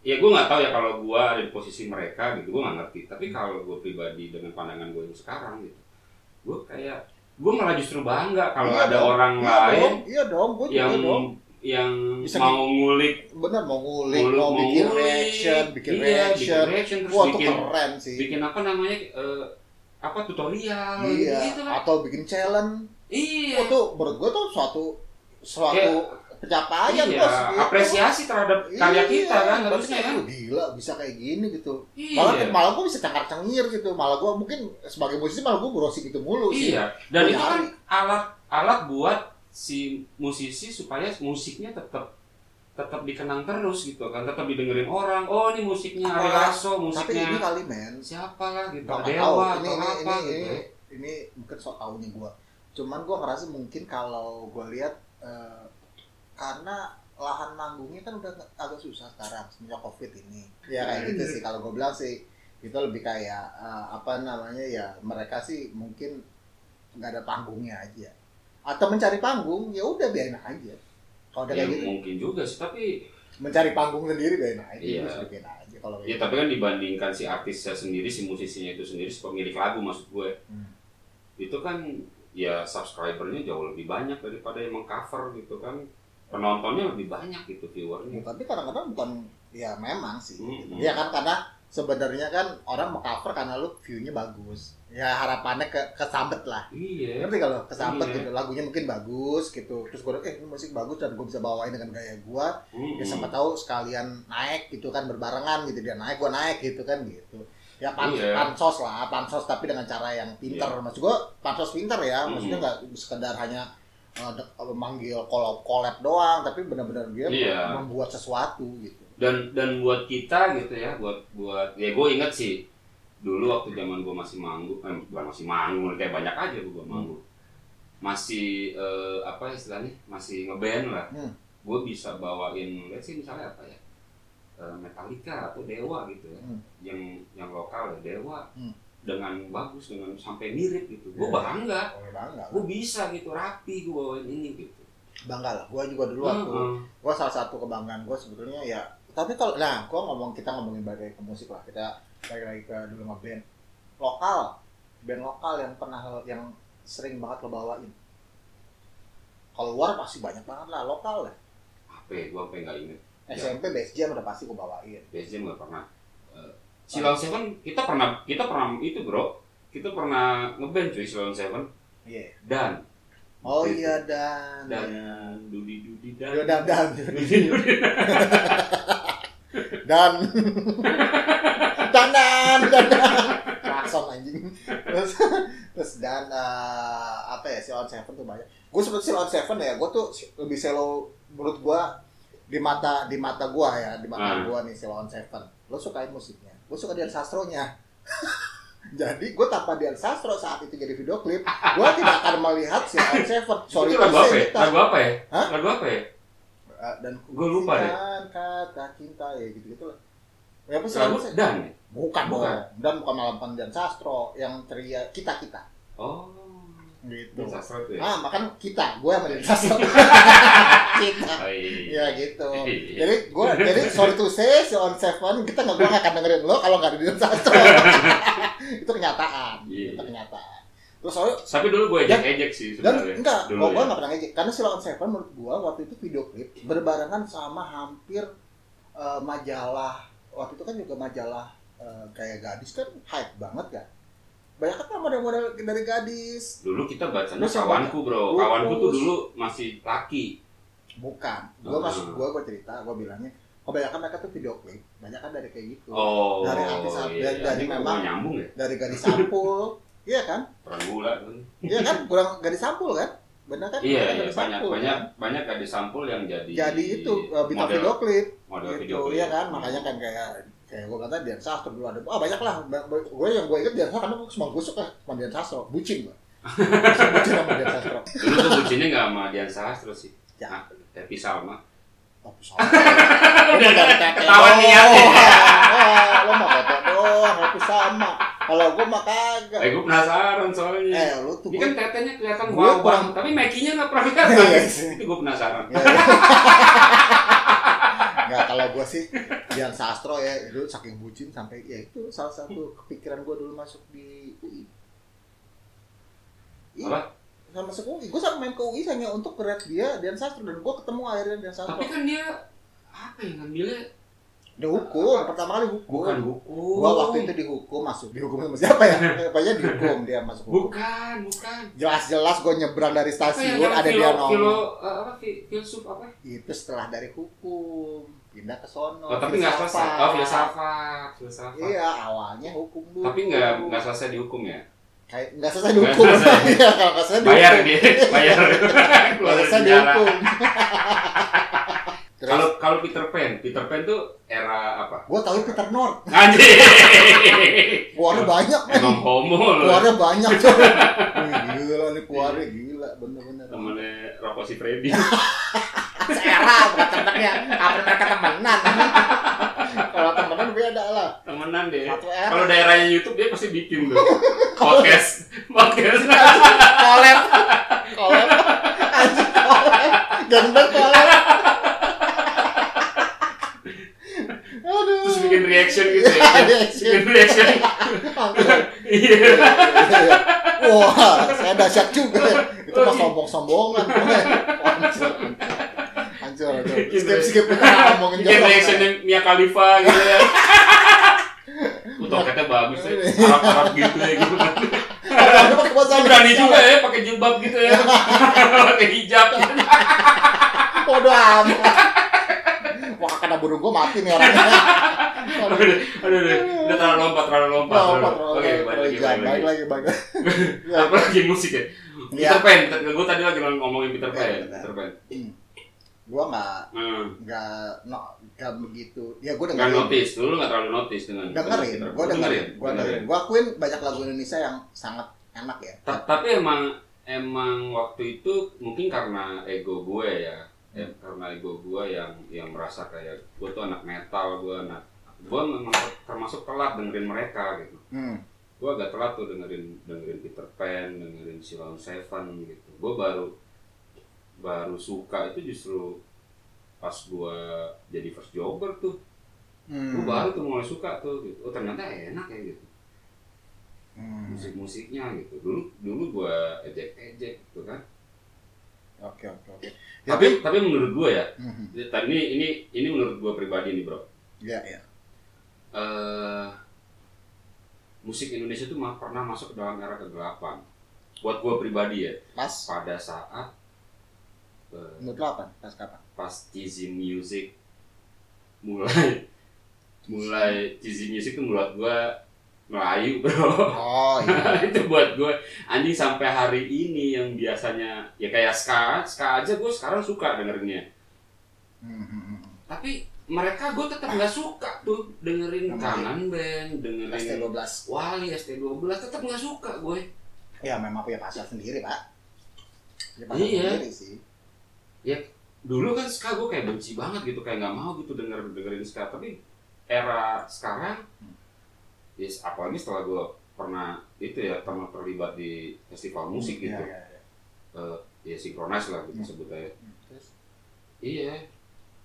B: ya gue nggak tahu ya kalau gue ada di posisi mereka gitu gue nggak ngerti tapi
A: Hmm.
B: kalau gue pribadi dengan pandangan gue yang sekarang gitu gue kayak gue malah justru bangga kalau
A: Iya
B: ada
A: dong.
B: orang
A: Iya
B: lain
A: dong, iya dong, gue juga
B: yang
A: dong.
B: yang
A: Bisa
B: mau ngulik
A: Bener mau ngulik,
B: ngulik
A: mau, bikin
B: ngulik.
A: reaction, bikin
B: Iya,
A: reaction.
B: bikin reaction terus
A: Wah, itu
B: bikin
A: keren sih.
B: bikin apa namanya eh, apa tutorial
A: iya,
B: gitu lah
A: atau bikin challenge.
B: iya
A: Itu menurut gue tuh suatu suatu pencapaian
B: iya,
A: bos. gitu.
B: apresiasi terhadap
A: Iya,
B: karya kita kan
A: berarti
B: harusnya kan
A: "Wah, Gila bisa kayak gini gitu.
B: iya
A: Malah malah gue bisa cangkar-cangir gitu. Malah gue mungkin sebagai musisi malah gue browsing gitu mulu sih.
B: iya dan
A: Gua
B: itu kan
A: nyari.
B: alat alat buat si musisi supaya musiknya tetap tetap dikenang terus gitu kan tetap didengerin orang oh ini musiknya Ari
A: Apalagi-
B: Lasso
A: Tapi ini
B: musiknya
A: kali men,
B: siapa lah gitu
A: Gak tahu.
B: Dewa
A: Ini
B: atau
A: ini
B: apa
A: ini
B: gitu
A: ini,
B: ya.
A: ini mungkin soal tahunya gue. Cuman gue ngerasa mungkin kalau gue lihat eh, karena lahan manggungnya kan udah agak susah sekarang semenjak covid ini.
B: Iya.
A: Ya kayak gitu sih kalau gue bilang sih itu lebih kayak eh, apa namanya ya mereka sih mungkin nggak ada panggungnya aja atau mencari panggung ya udah biarin aja kalau udah
B: ya,
A: kayak gitu
B: mungkin juga sih tapi
A: mencari panggung sendiri biarin aja
B: Iya.
A: terus bikin aja kalau
B: ya tapi kan dibandingkan si artisnya sendiri si musisinya itu sendiri si pemilik lagu maksud gue
A: Hmm.
B: itu kan ya subscribernya jauh lebih banyak daripada yang mengcover gitu kan penontonnya lebih banyak gitu
A: Ya,
B: viewernya
A: tapi kadang-kadang bukan ya memang sih.
B: Mm-mm.
A: Iya kan karena sebenarnya kan orang mau cover karena lu view-nya bagus. ya harapannya ke kesambet lah
B: Iya.
A: ngerti kalau kesambet
B: Iya.
A: gitu lagunya mungkin bagus gitu terus gue eh ini musik bagus dan gue bisa bawain dengan gaya gue ya
B: Iya.
A: siapa tahu sekalian naik gitu kan berbarengan gitu dia naik gua naik gitu kan gitu ya pan
B: Iya.
A: pansos lah pansos tapi dengan cara yang pinter maksud gua pansos pinter ya
B: Hmm.
A: maksudnya nggak sekedar hanya uh, dek- uh, manggil kolab kolab doang tapi benar-benar dia
B: Iya.
A: membuat sesuatu gitu
B: dan dan buat kita gitu ya buat buat ya gue inget sih dulu waktu zaman gue masih manggung eh, bukan masih manggung kayak banyak aja gue manggung masih eh, apa istilahnya masih ngeband lah
A: Hmm.
B: gue bisa bawain let's say misalnya apa ya Eh, Metallica atau Dewa gitu ya
A: Hmm.
B: yang yang lokal ya Dewa
A: Hmm.
B: dengan bagus dengan sampai mirip gitu gue
A: Iya.
B: bangga
A: Oh, bangga
B: gue bisa gitu rapi gue bawain ini gitu
A: bangga lah gua juga dulu waktu
B: Heeh.
A: gua salah satu kebanggaan gua sebetulnya ya tapi kalau nah gua ngomong kita ngomongin balik lagi ke musik lah kita balik lagi ke dulu sama band lokal band lokal yang pernah yang sering banget lo bawain kalau luar pasti banyak banget lah lokal lah
B: apa ya gue apa nggak inget Ya.
A: SMP base jam udah pasti gua bawain
B: Biasanya nggak pernah. Eh,
A: ya?
B: Silang Seven kita pernah kita pernah itu bro kita pernah ngeband cuy Silang Seven
A: iya
B: dan
A: oh
B: Gitu.
A: iya dan
B: dan Dudi Dudi dan
A: Yo, dan dan
B: Dudi Dudi
A: dan dan dan dan dan Klakson, anjing terus terus dan eh, apa ya si on seven tuh banyak gue sebut si on seven ya gue tuh si- lebih selo menurut gue di mata di mata gue ya di
B: Ah.
A: mata gue nih si on seven lo sukain musiknya gue suka Dian Sastronya jadi gue tanpa Dian Sastro saat itu jadi video klip gue tidak akan melihat si on seven sorry
B: itu lagu
A: to
B: apa
A: say,
B: ya?
A: kita.
B: Lagu apa ya?
A: Hah?
B: Lagu apa ya?
A: Eh, dan
B: Gue lupa deh.
A: dan kata cinta ya gitu gitu lah ya apa sih
B: Lagu
A: lagu-
B: dan. ya?
A: Bukan,
B: Bukan.
A: bukan. Dan bukan malam pandian sastro yang ceria kita kita
B: Oh. Itu
A: gitu.
B: sastra tuh ya.
A: Ah, makan kita, gue yang pandian sastro. kita.
B: Oh, iya.
A: Ya gitu. Jadi gue, jadi sorry to say, si on seven kita nggak gue nggak akan dengerin lo kalau nggak ada Dian sastro. itu kenyataan,
B: Iya.
A: itu kenyataan. Terus soalnya
B: Tapi dulu gue ejek-ejek sih
A: dan
B: sebenarnya.
A: enggak,
B: Dulu
A: kalau gue
B: ya.
A: nggak pernah ngejek karena si on seven menurut gue waktu itu video klip berbarengan sama hampir eh, majalah waktu itu kan juga majalah eh, kayak gadis kan hype banget kan banyak kan model-model dari gadis
B: Dulu kita bacanya
A: Terus yang
B: kawanku bro.
A: Lupus.
B: Kawanku tuh dulu masih laki.
A: bukan gue
B: Hmm.
A: masuk gue gue cerita gue bilangnya kebanyakan mereka tuh video klip banyak kan dari kayak gitu
B: Oh.
A: Dari artis apa?
B: iya.
A: Dari
B: Ini kok
A: memang-
B: mau nyambung ya?
A: dari gadis sampul iya kan
B: Perang gula. kan?
A: iya kan kurang gadis sampul kan benar kan
B: Iya,
A: Kurang
B: iya
A: gadis
B: banyak
A: sampul,
B: banyak
A: kan?
B: banyak ada sampul yang jadi
A: jadi itu eh, bintang
B: model,
A: video klip
B: model video
A: gitu
B: klip.
A: iya kan makanya kan kayak kayak gue kata Dian Sastro dulu ada ah banyak lah Ba- ba- gue yang gue inget Dian Sastro karena gue cuma gue suka sama Dian Sastro bucin gue bucin sama Dian Sastro
B: Dulu tuh bucinnya nggak sama Dian Sastro sih.
A: Ya.
B: Ah, Happy Salma.
A: tapi sama Lo mah dari tete
B: Ketahuan
A: doang.
B: niatnya.
A: Wah, lo mah tete doang tapi sama kalau gue mah kagak
B: Eh, gue penasaran soalnya.
A: eh lu tuh
B: Ini
A: gue
B: kan tetenya kelihatan
A: Gua
B: wow
A: kurang-
B: tapi Mekinya nggak pernah
A: Iya,
B: kelihatan.
A: iya.
B: itu gue penasaran.
A: Ya, ya. Nggak, kalau gue sih Dian Sastro ya itu saking bucin sampai ya itu salah satu kepikiran gue dulu masuk di UI. Iya.
B: Apa?
A: Sama masuk UI, gue sampai main ke UI hanya untuk grad dia Dian Sastro dan gue ketemu akhirnya Dian Sastro.
B: Tapi kan dia apa ya ngambilnya
A: Di hukum, pertama kali hukum.
B: bukan hukum.
A: Gue waktu itu dihukum masuk, dihukum sama siapa ya? Kayaknya dihukum dia masuk hukum.
B: bukan, bukan.
A: Jelas-jelas gue nyebrang dari
B: Apa ya,
A: stasiun
B: yang
A: ada
B: filo,
A: dia
B: filo,
A: nongol.
B: eh, apa, fi- filsuf apa?
A: Itu setelah dari hukum pindah ke sono.
B: Oh, tapi nggak selesai.
A: filsafat.
B: Oh, filsafat, filsafat.
A: Iya, awalnya hukum dulu.
B: Tapi nggak nggak selesai dihukum ya?
A: kayak nggak selesai dihukum.
B: Nggak selesai.
A: Iya, kalau nggak selesai
B: bayar
A: dihukum.
B: dia bayar
A: Nggak
B: keluar dari
A: selesai
B: penjara
A: dihukum. Terus
B: kalau kalau Peter Pan Peter Pan tuh era apa
A: gue tahu Peter North,
B: anjir
A: keluarnya banyak men.
B: emang homo loh
A: Keluarnya banyak coy. Wih, gila nih keluarnya
B: Iya.
A: gila bener-bener.
B: temennya Rocco si Freddy
A: Era bukan temennya, apa mereka temenan? Kalau temenan beda lah.
B: temenan deh
A: Satu era.
B: Iya. kalau daerahnya YouTube dia pasti bikin tuh podcast podcast
A: kolab kolab anjing kolab gendeng kolab aduh
B: terus bikin reaction gitu
A: Iya,
B: ya bikin reaction iya
A: wah saya dahsyat juga itu mah sombong sombongan hancur hancur hancur.
B: Gitu ya.
A: skip skip kita ngomongin
B: bikin
A: jorok.
B: reaction yang Mia Khalifa gitu ya Utoketnya bagus ya, Arab-Arab gitu ya gitu kan
A: Ada pakai bahasa
B: Lu berani juga ya pakai jilbab gitu ya. pakai hijab. gitu.
A: Waduh amat. Wah kena burung gua mati nih orangnya.
B: aduh, aduh, aduh. Udah terlalu lompat, terlalu lompat. terlalu- Oke, balik lagi, balik lagi.
A: Baik lagi, baik lagi. Ya.
B: Apa lagi musik ya?
A: Ya,
B: Peter Pan, Peter- gua tadi lagi ngomongin Peter Pan.
A: Iya,
B: ya,
A: benar.
B: Peter Pan.
A: gua nggak
B: Hmm.
A: nggak no nggak begitu. Ya gua
B: Nggak
A: dengerin.
B: notice, dulu nggak terlalu notice dengan
A: Dengerin,
B: Peter Pan.
A: gua dengerin, gua dengerin.
B: dengerin.
A: Gua akuin banyak lagu Indonesia yang sangat enak ya.
B: Ta- Tapi emang emang waktu itu mungkin karena ego gue ya, Eh, karena ego gue yang yang merasa kayak gue tuh anak metal, gue anak gue memang termasuk telat dengerin mereka gitu.
A: Hmm.
B: gue agak telat tuh dengerin dengerin Peter Pan, dengerin Silon Seven gitu. Gue baru baru suka itu justru pas gue jadi first jobber tuh,
A: Hmm.
B: gue baru tuh mulai suka tuh. Gitu. Oh ternyata enak ya gitu
A: Hmm.
B: musik-musiknya gitu. Dulu dulu gue ejek-ejek gitu kan.
A: Oke, oke, oke. Ya,
B: Tapi tapi menurut gue ya,
A: Mhm.
B: tadi ini ini ini menurut gue pribadi nih bro.
A: Iya, iya.
B: eh musik Indonesia tuh ma- pernah masuk ke dalam era kegelapan. Buat gue pribadi ya.
A: Pas
B: pada saat eh,
A: menurut lo apa? Pas kapan?
B: pas cheesy music mulai mulai cheesy music itu buat gua melayu bro
A: Oh, iya.
B: itu buat gua anjing sampai hari ini yang biasanya ya kayak ska ska aja gua sekarang suka dengernya
A: Hmm, hmm, hmm.
B: tapi mereka gua tetap nggak suka tuh dengerin kanan band dengerin
A: ST12.
B: Wali ST12 tetap nggak suka gue
A: Ya, memang punya pasar sendiri, Pak. Punya pasar
B: Iya.
A: sendiri sih.
B: dulu kan ska gue kayak benci banget gitu kayak nggak mau gitu denger dengerin ska tapi era sekarang ya yes, apalagi setelah gue pernah itu ya pernah terlibat di festival musik
A: Iya,
B: gitu
A: iya, iya.
B: ya sinkronis lah gitu
A: Hmm.
B: sebut aja
A: Terus?
B: iya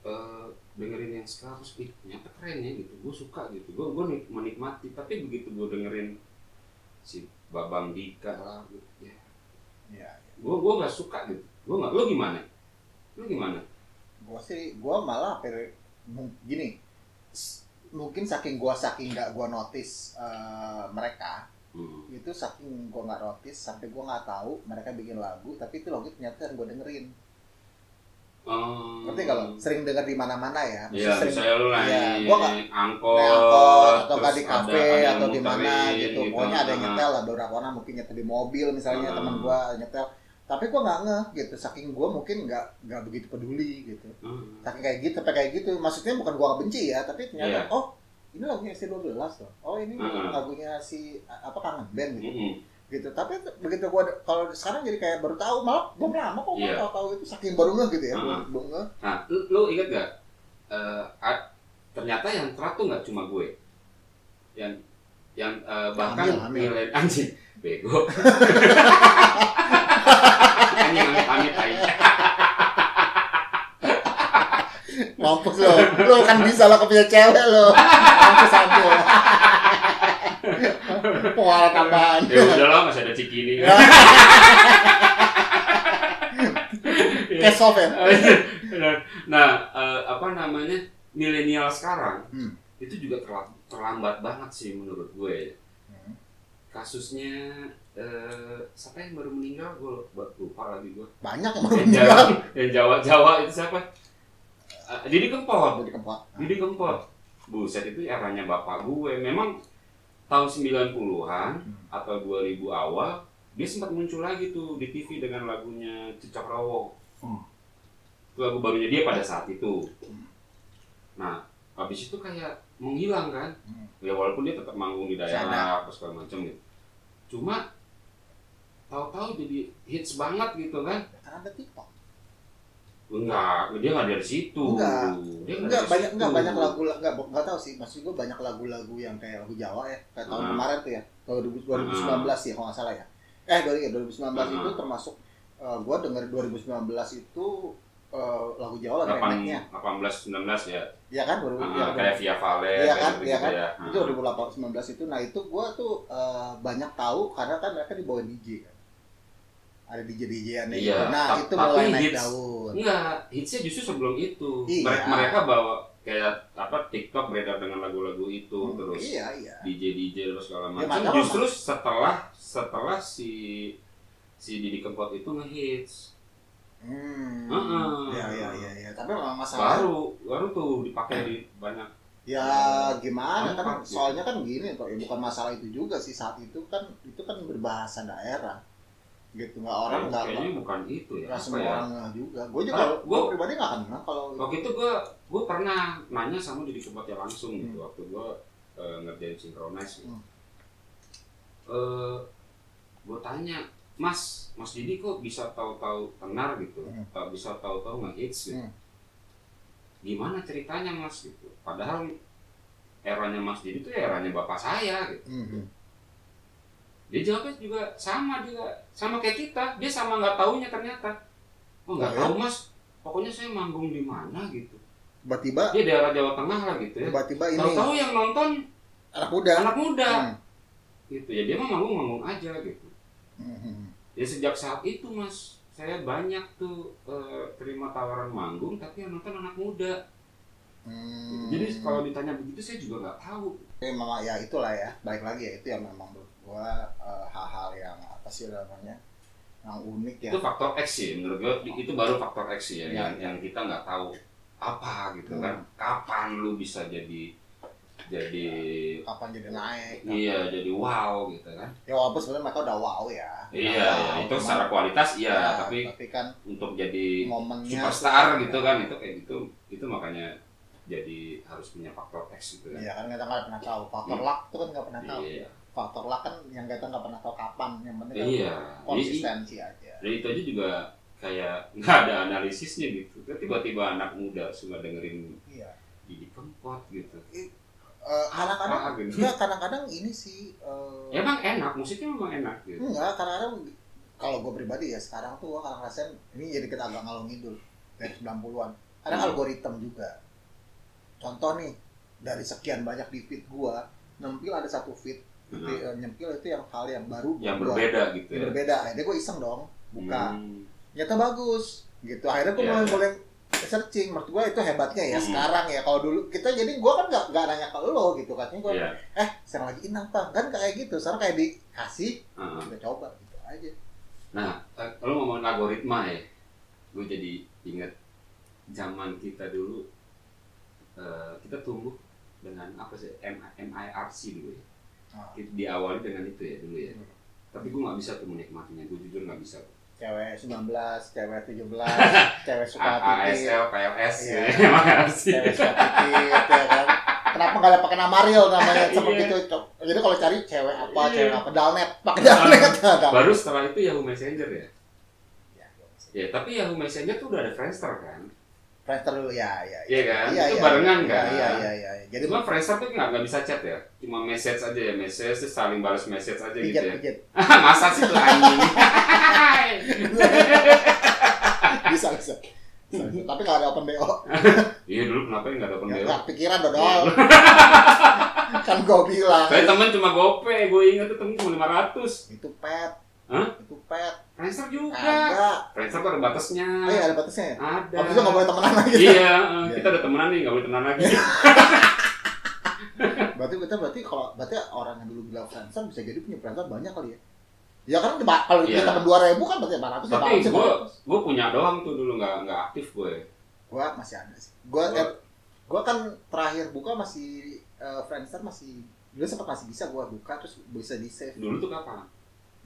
B: eh, dengerin yang ska terus ih ternyata keren ya gitu gue suka gitu gue gue menikmati tapi begitu gue dengerin si Babang Dika lah gitu ya
A: Iya, iya.
B: gue gue nggak suka gitu gue nggak lo gimana lo gimana
A: Gua sih, gua malah hampir mung- gini. s- Mungkin saking gua saking nggak gua notice eh, mereka,
B: Hmm.
A: itu saking gua nggak notice sampai gua nggak tahu mereka bikin lagu, tapi itu lagu ternyata yang gua dengerin.
B: Oh.
A: Ngerti nggak lo? Sering denger di mana-mana
B: Iya,
A: ya. Maksudnya sering
B: misalnya lu naik
A: Iya, gua nggak-
B: angkot,
A: naik angkot, atau
B: terus
A: nggak di
B: ada-
A: kafe
B: ada yang
A: atau di mana
B: muterin
A: gitu. Pokoknya ada yang
B: nah.
A: nyetel lah beberapa orang mungkin nyetel di mobil misalnya
B: Ah.
A: teman gua nyetel. Tapi gua nggak ngeh gitu. Saking gua mungkin nggak nggak begitu peduli gitu.
B: Hmm.
A: Saking kayak gitu, sampai kayak gitu. Maksudnya bukan gua nggak benci ya, tapi ternyata oh ini lagunya SC12 loh. Oh ini
B: Iya. Ah.
A: lagunya si apa kangen band gitu.
B: Mm-mm.
A: gitu. Tapi begitu gua ada- kalau sekarang jadi kayak baru tahu malah belum lama kok gua
B: Iya.
A: tahu tahu itu saking baru ngeh gitu ya.
B: Ah.
A: Belum belum ngeh.
B: Nah, lu, lu inget gak? Eh, a- ternyata yang terat tuh nggak cuma gue. Yang yang
A: Ya,
B: eh, bahkan
A: Hamil, hamil.
B: nilai anjing bego. anjing amit amit tai.
A: Mampus lo, lo kan bisa lo punya cewek lo. Mampus aku. Wah tambahan.
B: Ya udah lah masih ada cikini.
A: Ya, Cash off ya.
B: Nah, nah eh, apa namanya milenial sekarang
A: Hmm.
B: itu juga terla- terlambat banget sih menurut gue. ya.
A: Hmm.
B: Kasusnya eh, siapa yang baru meninggal gue lupa, lupa lagi gue.
A: Banyak yang baru
B: Yang Jawa,
A: meninggal.
B: yang Jawa Jawa itu siapa? Eh, Didi Kempot.
A: Jadi kempot.
B: Didi Kempot. Buset itu eranya bapak gue. Memang tahun 90-an
A: Hmm.
B: atau 2000 awal dia sempat muncul lagi tuh di TV dengan lagunya Cicak Rowo.
A: Hmm.
B: Itu lagu barunya dia pada saat itu.
A: Hmm.
B: Nah, habis itu kayak menghilang kan.
A: Hmm.
B: Ya walaupun dia tetap manggung di daerah apa segala macam gitu. Cuma tahu-tahu jadi hits banget gitu kan.
A: Karena ada TikTok.
B: Enggak, dia nggak dari situ.
A: Enggak.
B: Dia nggak
A: Enggak
B: dari
A: banyak
B: situ.
A: enggak banyak lagu enggak enggak tahu sih. Maksud gue banyak lagu-lagu yang kayak lagu Jawa ya. Kayak tahun
B: Ah.
A: kemarin tuh ya. Tahun 2019 sih kalau nggak salah ya. Eh dari 2019 itu termasuk eh, gue denger 2019 itu eh, lagu Jawa lagi
B: Delapan-
A: remake-nya.
B: 18 19 ya.
A: Iya kan? Baru
B: Ah,
A: ya,
B: kayak Via Vale
A: Iya
B: kayak
A: kan,
B: gitu-gitu
A: iya kan.
B: ya. Ah.
A: itu 2019 itu nah itu gua tuh eh, banyak tahu karena kan mereka dibawa DJ kan ada DJ DJ an
B: Iya,
A: nah
B: ta-
A: itu
B: tapi
A: mulai naik
B: hits.
A: daun
B: Enggak, hitsnya justru sebelum itu.
A: Iya.
B: Mere- Mereka bawa kayak apa TikTok beredar dengan lagu-lagu itu terus
A: iya iya
B: DJ DJ terus segala macam.
A: Ya, makanya
B: Justru setelah setelah si si Didi Kempot itu ngehits
A: hmm.
B: Heeh.
A: iya iya iya iya tapi memang masalah
B: baru baru tuh dipakai di banyak
A: Ya gimana kan
B: Apa? Gitu.
A: soalnya kan gini Pak, ya bukan masalah itu juga sih saat itu kan itu kan berbahasa daerah gitu nggak orang nggak
B: kayaknya bukan itu Iya, ya.
A: nggak
B: Apa
A: semua
B: ya?
A: orang ngeh juga gue juga
B: Ah,
A: gue
B: gua- Oh.
A: pribadi nggak kenal kalau
B: Waktu itu gue gue pernah nanya sama Didi Kempot ya langsung gitu waktu gue ngerjain sinkronize gitu.
A: Hmm.
B: Eh, gue tanya, Mas, Mas Didi kok bisa tahu-tahu tenar gitu,
A: Hmm.
B: tak bisa tahu-tahu ngehits gitu.
A: Hmm.
B: Gimana ceritanya Mas gitu? Padahal eranya Mas Didi tuh ya eranya bapak saya gitu.
A: Mhm.
B: Dia jawabnya juga sama juga, sama kayak kita. Dia sama nggak taunya ternyata. Oh nggak
A: Oh, ya?
B: tahu Mas, pokoknya saya manggung di mana gitu.
A: tiba-tiba
B: Dia daerah Jawa Tengah lah gitu ya.
A: tiba-tiba ini
B: Tahu-tahu Iya. yang nonton
A: anak muda
B: anak muda
A: Hmm.
B: gitu ya dia mah manggung-manggung aja gitu.
A: Mhm.
B: Ya sejak saat itu mas saya banyak tuh eh, terima tawaran manggung tapi yang nonton anak muda.
A: Hmm.
B: Jadi kalau ditanya begitu saya juga nggak tahu.
A: Eh, memang ya itulah ya baik lagi ya itu yang memang menurut gue eh, hal-hal yang apa sih namanya yang unik ya
B: Itu faktor X sih menurut gue di- itu baru faktor X sih ya,
A: Ya.
B: yang yang kita nggak tahu apa gitu
A: Hmm.
B: kan kapan lu bisa jadi jadi
A: kapan jadi naik
B: iya jadi wow gitu kan
A: ya walaupun sebenarnya mereka udah wow ya
B: iya
A: Udah
B: ya,
A: wow,
B: itu
A: cuman-
B: secara kualitas iya
A: Ya,
B: tapi
A: tapi kan
B: untuk jadi
A: momennya
B: superstar gitu kan itu kayak gitu itu makanya jadi harus punya faktor X gitu kan
A: Iya kan kita nggak pernah tahu faktor
B: Hmm.
A: luck itu kan nggak pernah tahu
B: iya
A: faktor luck kan yang kita nggak pernah tahu kapan yang penting kan
B: iya jadi
A: konsistensi aja
B: dari itu aja juga kayak nggak ada analisisnya gitu Terus tiba-tiba anak muda suka dengerin
A: iya
B: Didi Kempot gitu
A: Eh, kadang-kadang
B: Ah, gitu.
A: enggak kadang-kadang ini sih eh,
B: emang enak musiknya memang enak gitu
A: enggak kadang-kadang kalau gue pribadi ya sekarang tuh gue kadang ngerasain ini jadi kita agak ngalung ngidul dari 90-an kadang
B: Hmm.
A: algoritma juga contoh nih dari sekian banyak di feed gue nempil ada satu feed
B: Nah,
A: di- eh, nyempil itu yang hal yang baru
B: yang
A: buat gua.
B: berbeda gitu ya
A: berbeda akhirnya gue iseng dong buka
B: Hmm.
A: ternyata bagus gitu akhirnya gue
B: Iya.
A: mulai mulai searching menurut gue itu hebatnya ya
B: Hmm.
A: sekarang ya kalau dulu kita jadi gue kan gak, gak nanya ke lo gitu katanya gue
B: Iya.
A: eh sekarang lagi inang Bang. kan kayak gitu sekarang kayak dikasih
B: Heeh.
A: kita coba gitu aja
B: Nah, eh, lu ngomongin algoritma ya, gue jadi inget zaman kita dulu, eh, kita tumbuh dengan apa sih M- MIRC dulu ya.
A: Ah.
B: Kita diawali dengan itu ya dulu ya.
A: Hmm.
B: Tapi gue nggak bisa tuh menikmatinya, gue jujur nggak bisa.
A: cewek 19 cewek 17 cewek suka
B: A-
A: titik
B: ASL, PLS,
A: Iya.
B: Ah, ya, MIRC.
A: cewek suka titik ya kan kenapa gak ada pakai nama real namanya seperti
B: Iya.
A: itu Cok. jadi kalau cari cewek apa
B: Iya.
A: cewek apa dalnet pakai dalnet
B: Baru setelah itu Yahoo Messenger ya.
A: Ya, gua masih-
B: Ya, tapi Yahoo Messenger tuh udah ada Friendster kan.
A: Friendster dulu ya ya
B: Iya kan? Itu barengan
A: iya,
B: kan?
A: iya iya iya jadi
B: Cuma Friendster tuh nggak nggak bisa chat ya, cuma message aja ya, message terus saling balas message aja gitu
A: pijat
B: ya.
A: pijat
B: Ah, masa sih tuh anjing?
A: bisa bisa Bisa, bisa. tapi kalau ada open bo
B: Iya dulu kenapa nggak ada
A: ya
B: pembela?
A: nggak pikiran
B: Iya.
A: dodol kan gue bilang
B: Saya teman cuma gope, gue inget tuh temen cuma lima ratus.
A: itu pet
B: Hah?
A: itu pet
B: Friendster juga.
A: kagak
B: Friendster tuh ada batasnya.
A: oh iya ada batasnya ya
B: Ada.
A: waktu itu nggak boleh Iya. temenan lagi
B: Iya, eh, kita udah temenan nih, nggak boleh temenan lagi.
A: berarti kita berarti kalau berarti orang yang dulu bilang friendster bisa jadi punya friendster banyak kali ya ya kan di- kalau
B: Iya.
A: punya temen dua ribu kan berarti empat ratus
B: Tapi gue, gue punya doang tuh dulu nggak nggak aktif ya. gue.
A: gue masih ada sih gue
B: Gua-
A: eh, gue kan terakhir buka masih eh, Friendster masih dulu sempat masih bisa gue buka terus bisa di save
B: Dulu tuh kapan?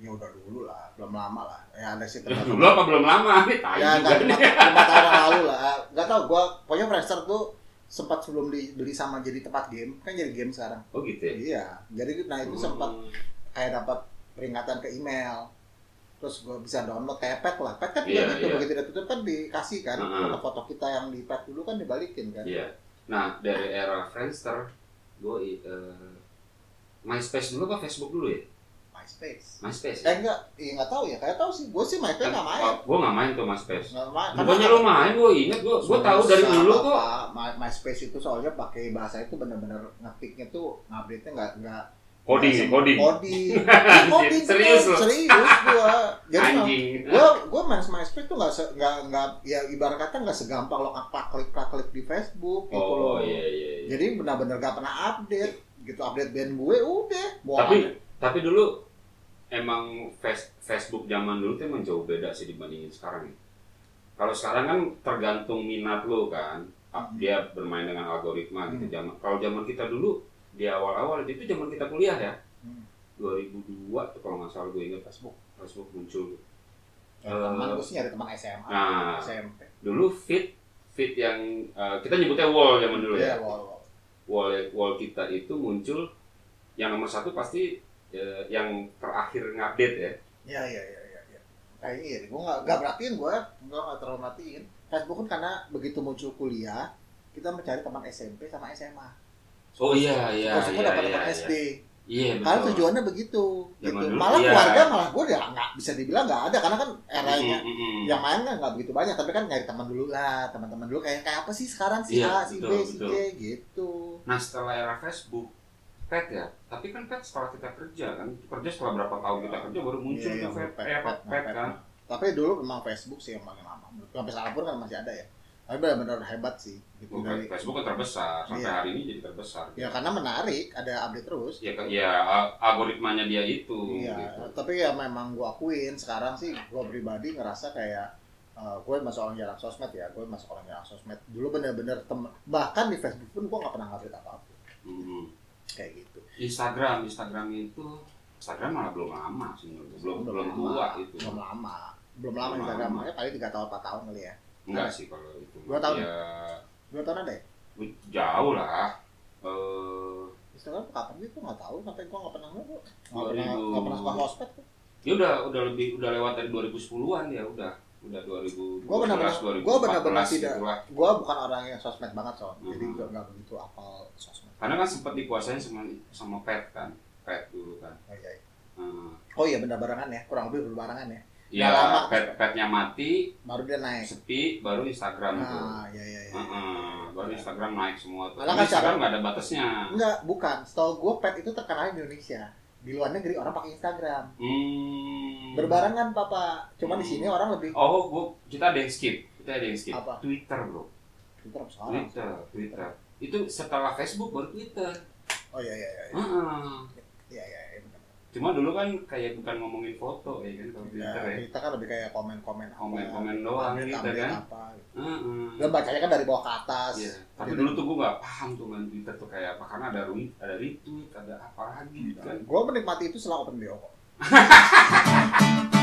A: ya udah dulu lah belum lama lah ya ada sih tempat
B: Dulu apa belum lama? Ini tai
A: ya
B: juga
A: nggak
B: nih.
A: lima, lima tahun yang lalu lah nggak tau gue pokoknya Friendster tuh sempat sebelum dibeli sama jadi tempat game kan jadi game sekarang
B: Oh gitu ya.
A: iya jadi nah itu sempat
B: Hmm.
A: kayak dapat peringatan ke email terus gue bisa download kayak pet lah pet kan juga
B: Iya,
A: gitu
B: iya. Hmm.
A: begitu ditutup kan dikasih kan
B: Heeh.
A: foto-foto kita yang di pet dulu kan dibalikin kan
B: Iya. Nah dari era Friendster, gue eh, MySpace dulu apa Facebook dulu ya?
A: MySpace
B: MySpace.
A: Eh enggak, iya enggak tahu ya. Kayak tahu sih, gue sih MySpace enggak main.
B: Gue nggak main tuh MySpace.
A: Enggak main.
B: Bukannya lu main, gue inget, gue gue tahu dari
A: Susah,
B: dulu kok.
A: Pak. My- MySpace itu soalnya pakai bahasa itu bener-bener ngetiknya tuh ngupdate-nya enggak enggak
C: Coding,
A: Sama-
C: coding.
A: Coding. Ih, coding
B: Serius
A: bener,
B: lu?
A: Iya, Serius gua. Jadi mah,
B: anjing
A: gua gua main MySpace tuh nggak se- nggak nggak ya ibarat kata nggak segampang lo apa klik klik di Facebook gitu
B: oh
A: loh.
B: iya iya iya.
A: Jadi benar-benar gak pernah update gitu update band gue udah. Mau
B: tapi tapi dulu emang face- Facebook zaman dulu tuh emang jauh beda sih dibandingin sekarang ya. Kalau sekarang kan tergantung minat lo kan,
A: Hmm.
B: Ap- dia bermain dengan algoritma gitu. Zaman kalau zaman kita dulu di awal-awal itu zaman kita kuliah ya,
A: Hmm.
B: 2002 tuh kalau nggak salah gue ingat Facebook Facebook muncul.
A: Ya, teman
B: Eh,
A: gue sih nyari teman SMA,
B: Nah.
A: SMP.
B: Dulu fit fit yang eh, kita nyebutnya wall zaman dulu ya.
A: Iya, wall, wall.
B: wall wall kita itu muncul yang nomor satu pasti eh, yang terakhir ngupdate ya.
A: Iya, iya, iya, iya. iya. Nah, iya, gue gak, gak perhatiin gue, gue gak terlalu perhatiin. Facebook kan karena begitu muncul kuliah, kita mencari teman SMP sama SMA.
B: Oh iya iya
A: Terus gue dapat teman SD.
B: Iya
A: Karena
B: betul.
A: tujuannya begitu.
B: Zaman
A: gitu.
B: dulu,
A: Malah
B: iya.
A: keluarga malah gue udah nggak bisa dibilang nggak ada karena kan eranya
B: Mm, mm, mm.
A: yang main kan nggak begitu banyak tapi kan nyari teman dulu lah teman-teman dulu kayak kayak apa sih sekarang si
B: Iya,
A: A si
B: betul,
A: B si
B: betul.
A: C gitu
B: Nah setelah era Facebook, pet ya. Tapi kan pet setelah kita kerja kan, kerja setelah berapa tahun kita kerja baru muncul
A: Iya,
B: tuh pet,
A: pet,
B: eh,
A: pet,
B: pet, pet
A: pet,
B: kan.
A: tapi dulu memang Facebook sih yang paling lama Menurut gua. sampai sekarang pun kan masih ada ya tapi benar-benar hebat sih gitu
B: Bukan,
A: dari
B: Facebook kan terbesar sampai
A: Iya.
B: hari ini jadi terbesar.
A: ya karena menarik ada update terus
B: Ya, ke- ya a- algoritmanya dia itu.
A: Iya,
B: gitu.
A: tapi ya memang gua akuin sekarang sih gua pribadi ngerasa kayak eh, gue masuk orang jarang sosmed ya, gue masuk orang jarang sosmed. Dulu bener-bener tem bahkan di Facebook pun gua nggak pernah ngupdate apa-apa
B: Mm.
A: kayak gitu.
B: Instagram, Instagram itu Instagram malah belum lama sih menurut gue. belum belum
A: lama,
B: tua gitu. itu.
A: Belum lama. Belum lama
B: Belum
A: Instagram,
B: lama.
A: makanya paling 3 tahun 4 tahun kali ya.
B: Enggak sih kalau itu.
A: Dua tahun.
B: Ya,
A: 2 tahun ada ya?
B: jauh lah. Eh,
A: Instagram tuh kapan gitu nggak tahu sampai gua nggak pernah ngurus.
B: 2000.
A: Nggak pernah nggak pernah suka sosmed.
B: ya udah udah lebih udah lewat dari 2010-an ya udah udah 2012
A: Gua benar-benar-
B: 2014
A: gua benar-benar
B: gitu
A: tidak-
B: lah.
A: Gua bukan orang yang sosmed banget soal, jadi
B: Mhm.
A: gua nggak begitu apal sosmed.
B: karena kan sempat dikuasain sama sama pet kan pet dulu kan
A: Oh iya, iya.
B: Eh,
A: Oh iya benar barengan ya, kurang lebih berbarengan ya.
B: ya
A: Nggak lama.
B: pet petnya mati
A: Baru dia naik.
B: sepi baru Instagram tuh
A: Nah, iya iya iya.
B: Heeh, baru Instagram naik semua tuh
A: Malah
B: Tapi
A: kan
B: Instagram nggak ada batasnya
A: Enggak, bukan. Setahu gue pet itu terkenal di Indonesia. Di luar negeri orang pakai Instagram.
B: hmm.
A: Berbarengan papa. Cuma di sini orang lebih
B: oh gua, kita ada yang skip kita ada yang skip
A: Apa?
B: Twitter bro
A: Twitter apa sekarang.
B: Twitter Twitter itu setelah Facebook baru Twitter
A: Oh iya iya iya.
B: Heeh.
A: Iya iya. iya, benar.
B: Cuma dulu kan kayak bukan ngomongin foto ya kan kalau
A: Ya,
B: Twitter ya.
A: Twitter kan lebih kayak komen-komen apa.
B: Komen-komen doang
A: update-
B: gitu
A: update
B: kan.
A: Apa. gitu.
B: Heeh.
A: Lo bacanya kan dari bawah ke atas.
B: Iya. Tapi
A: Jadi-
B: dulu tuh gue gak paham tuh kan Twitter tuh kayak apa karena ada retweet, ada retweet, ada apa lagi gitu kan.
A: Gue menikmati itu setelah open BO kok.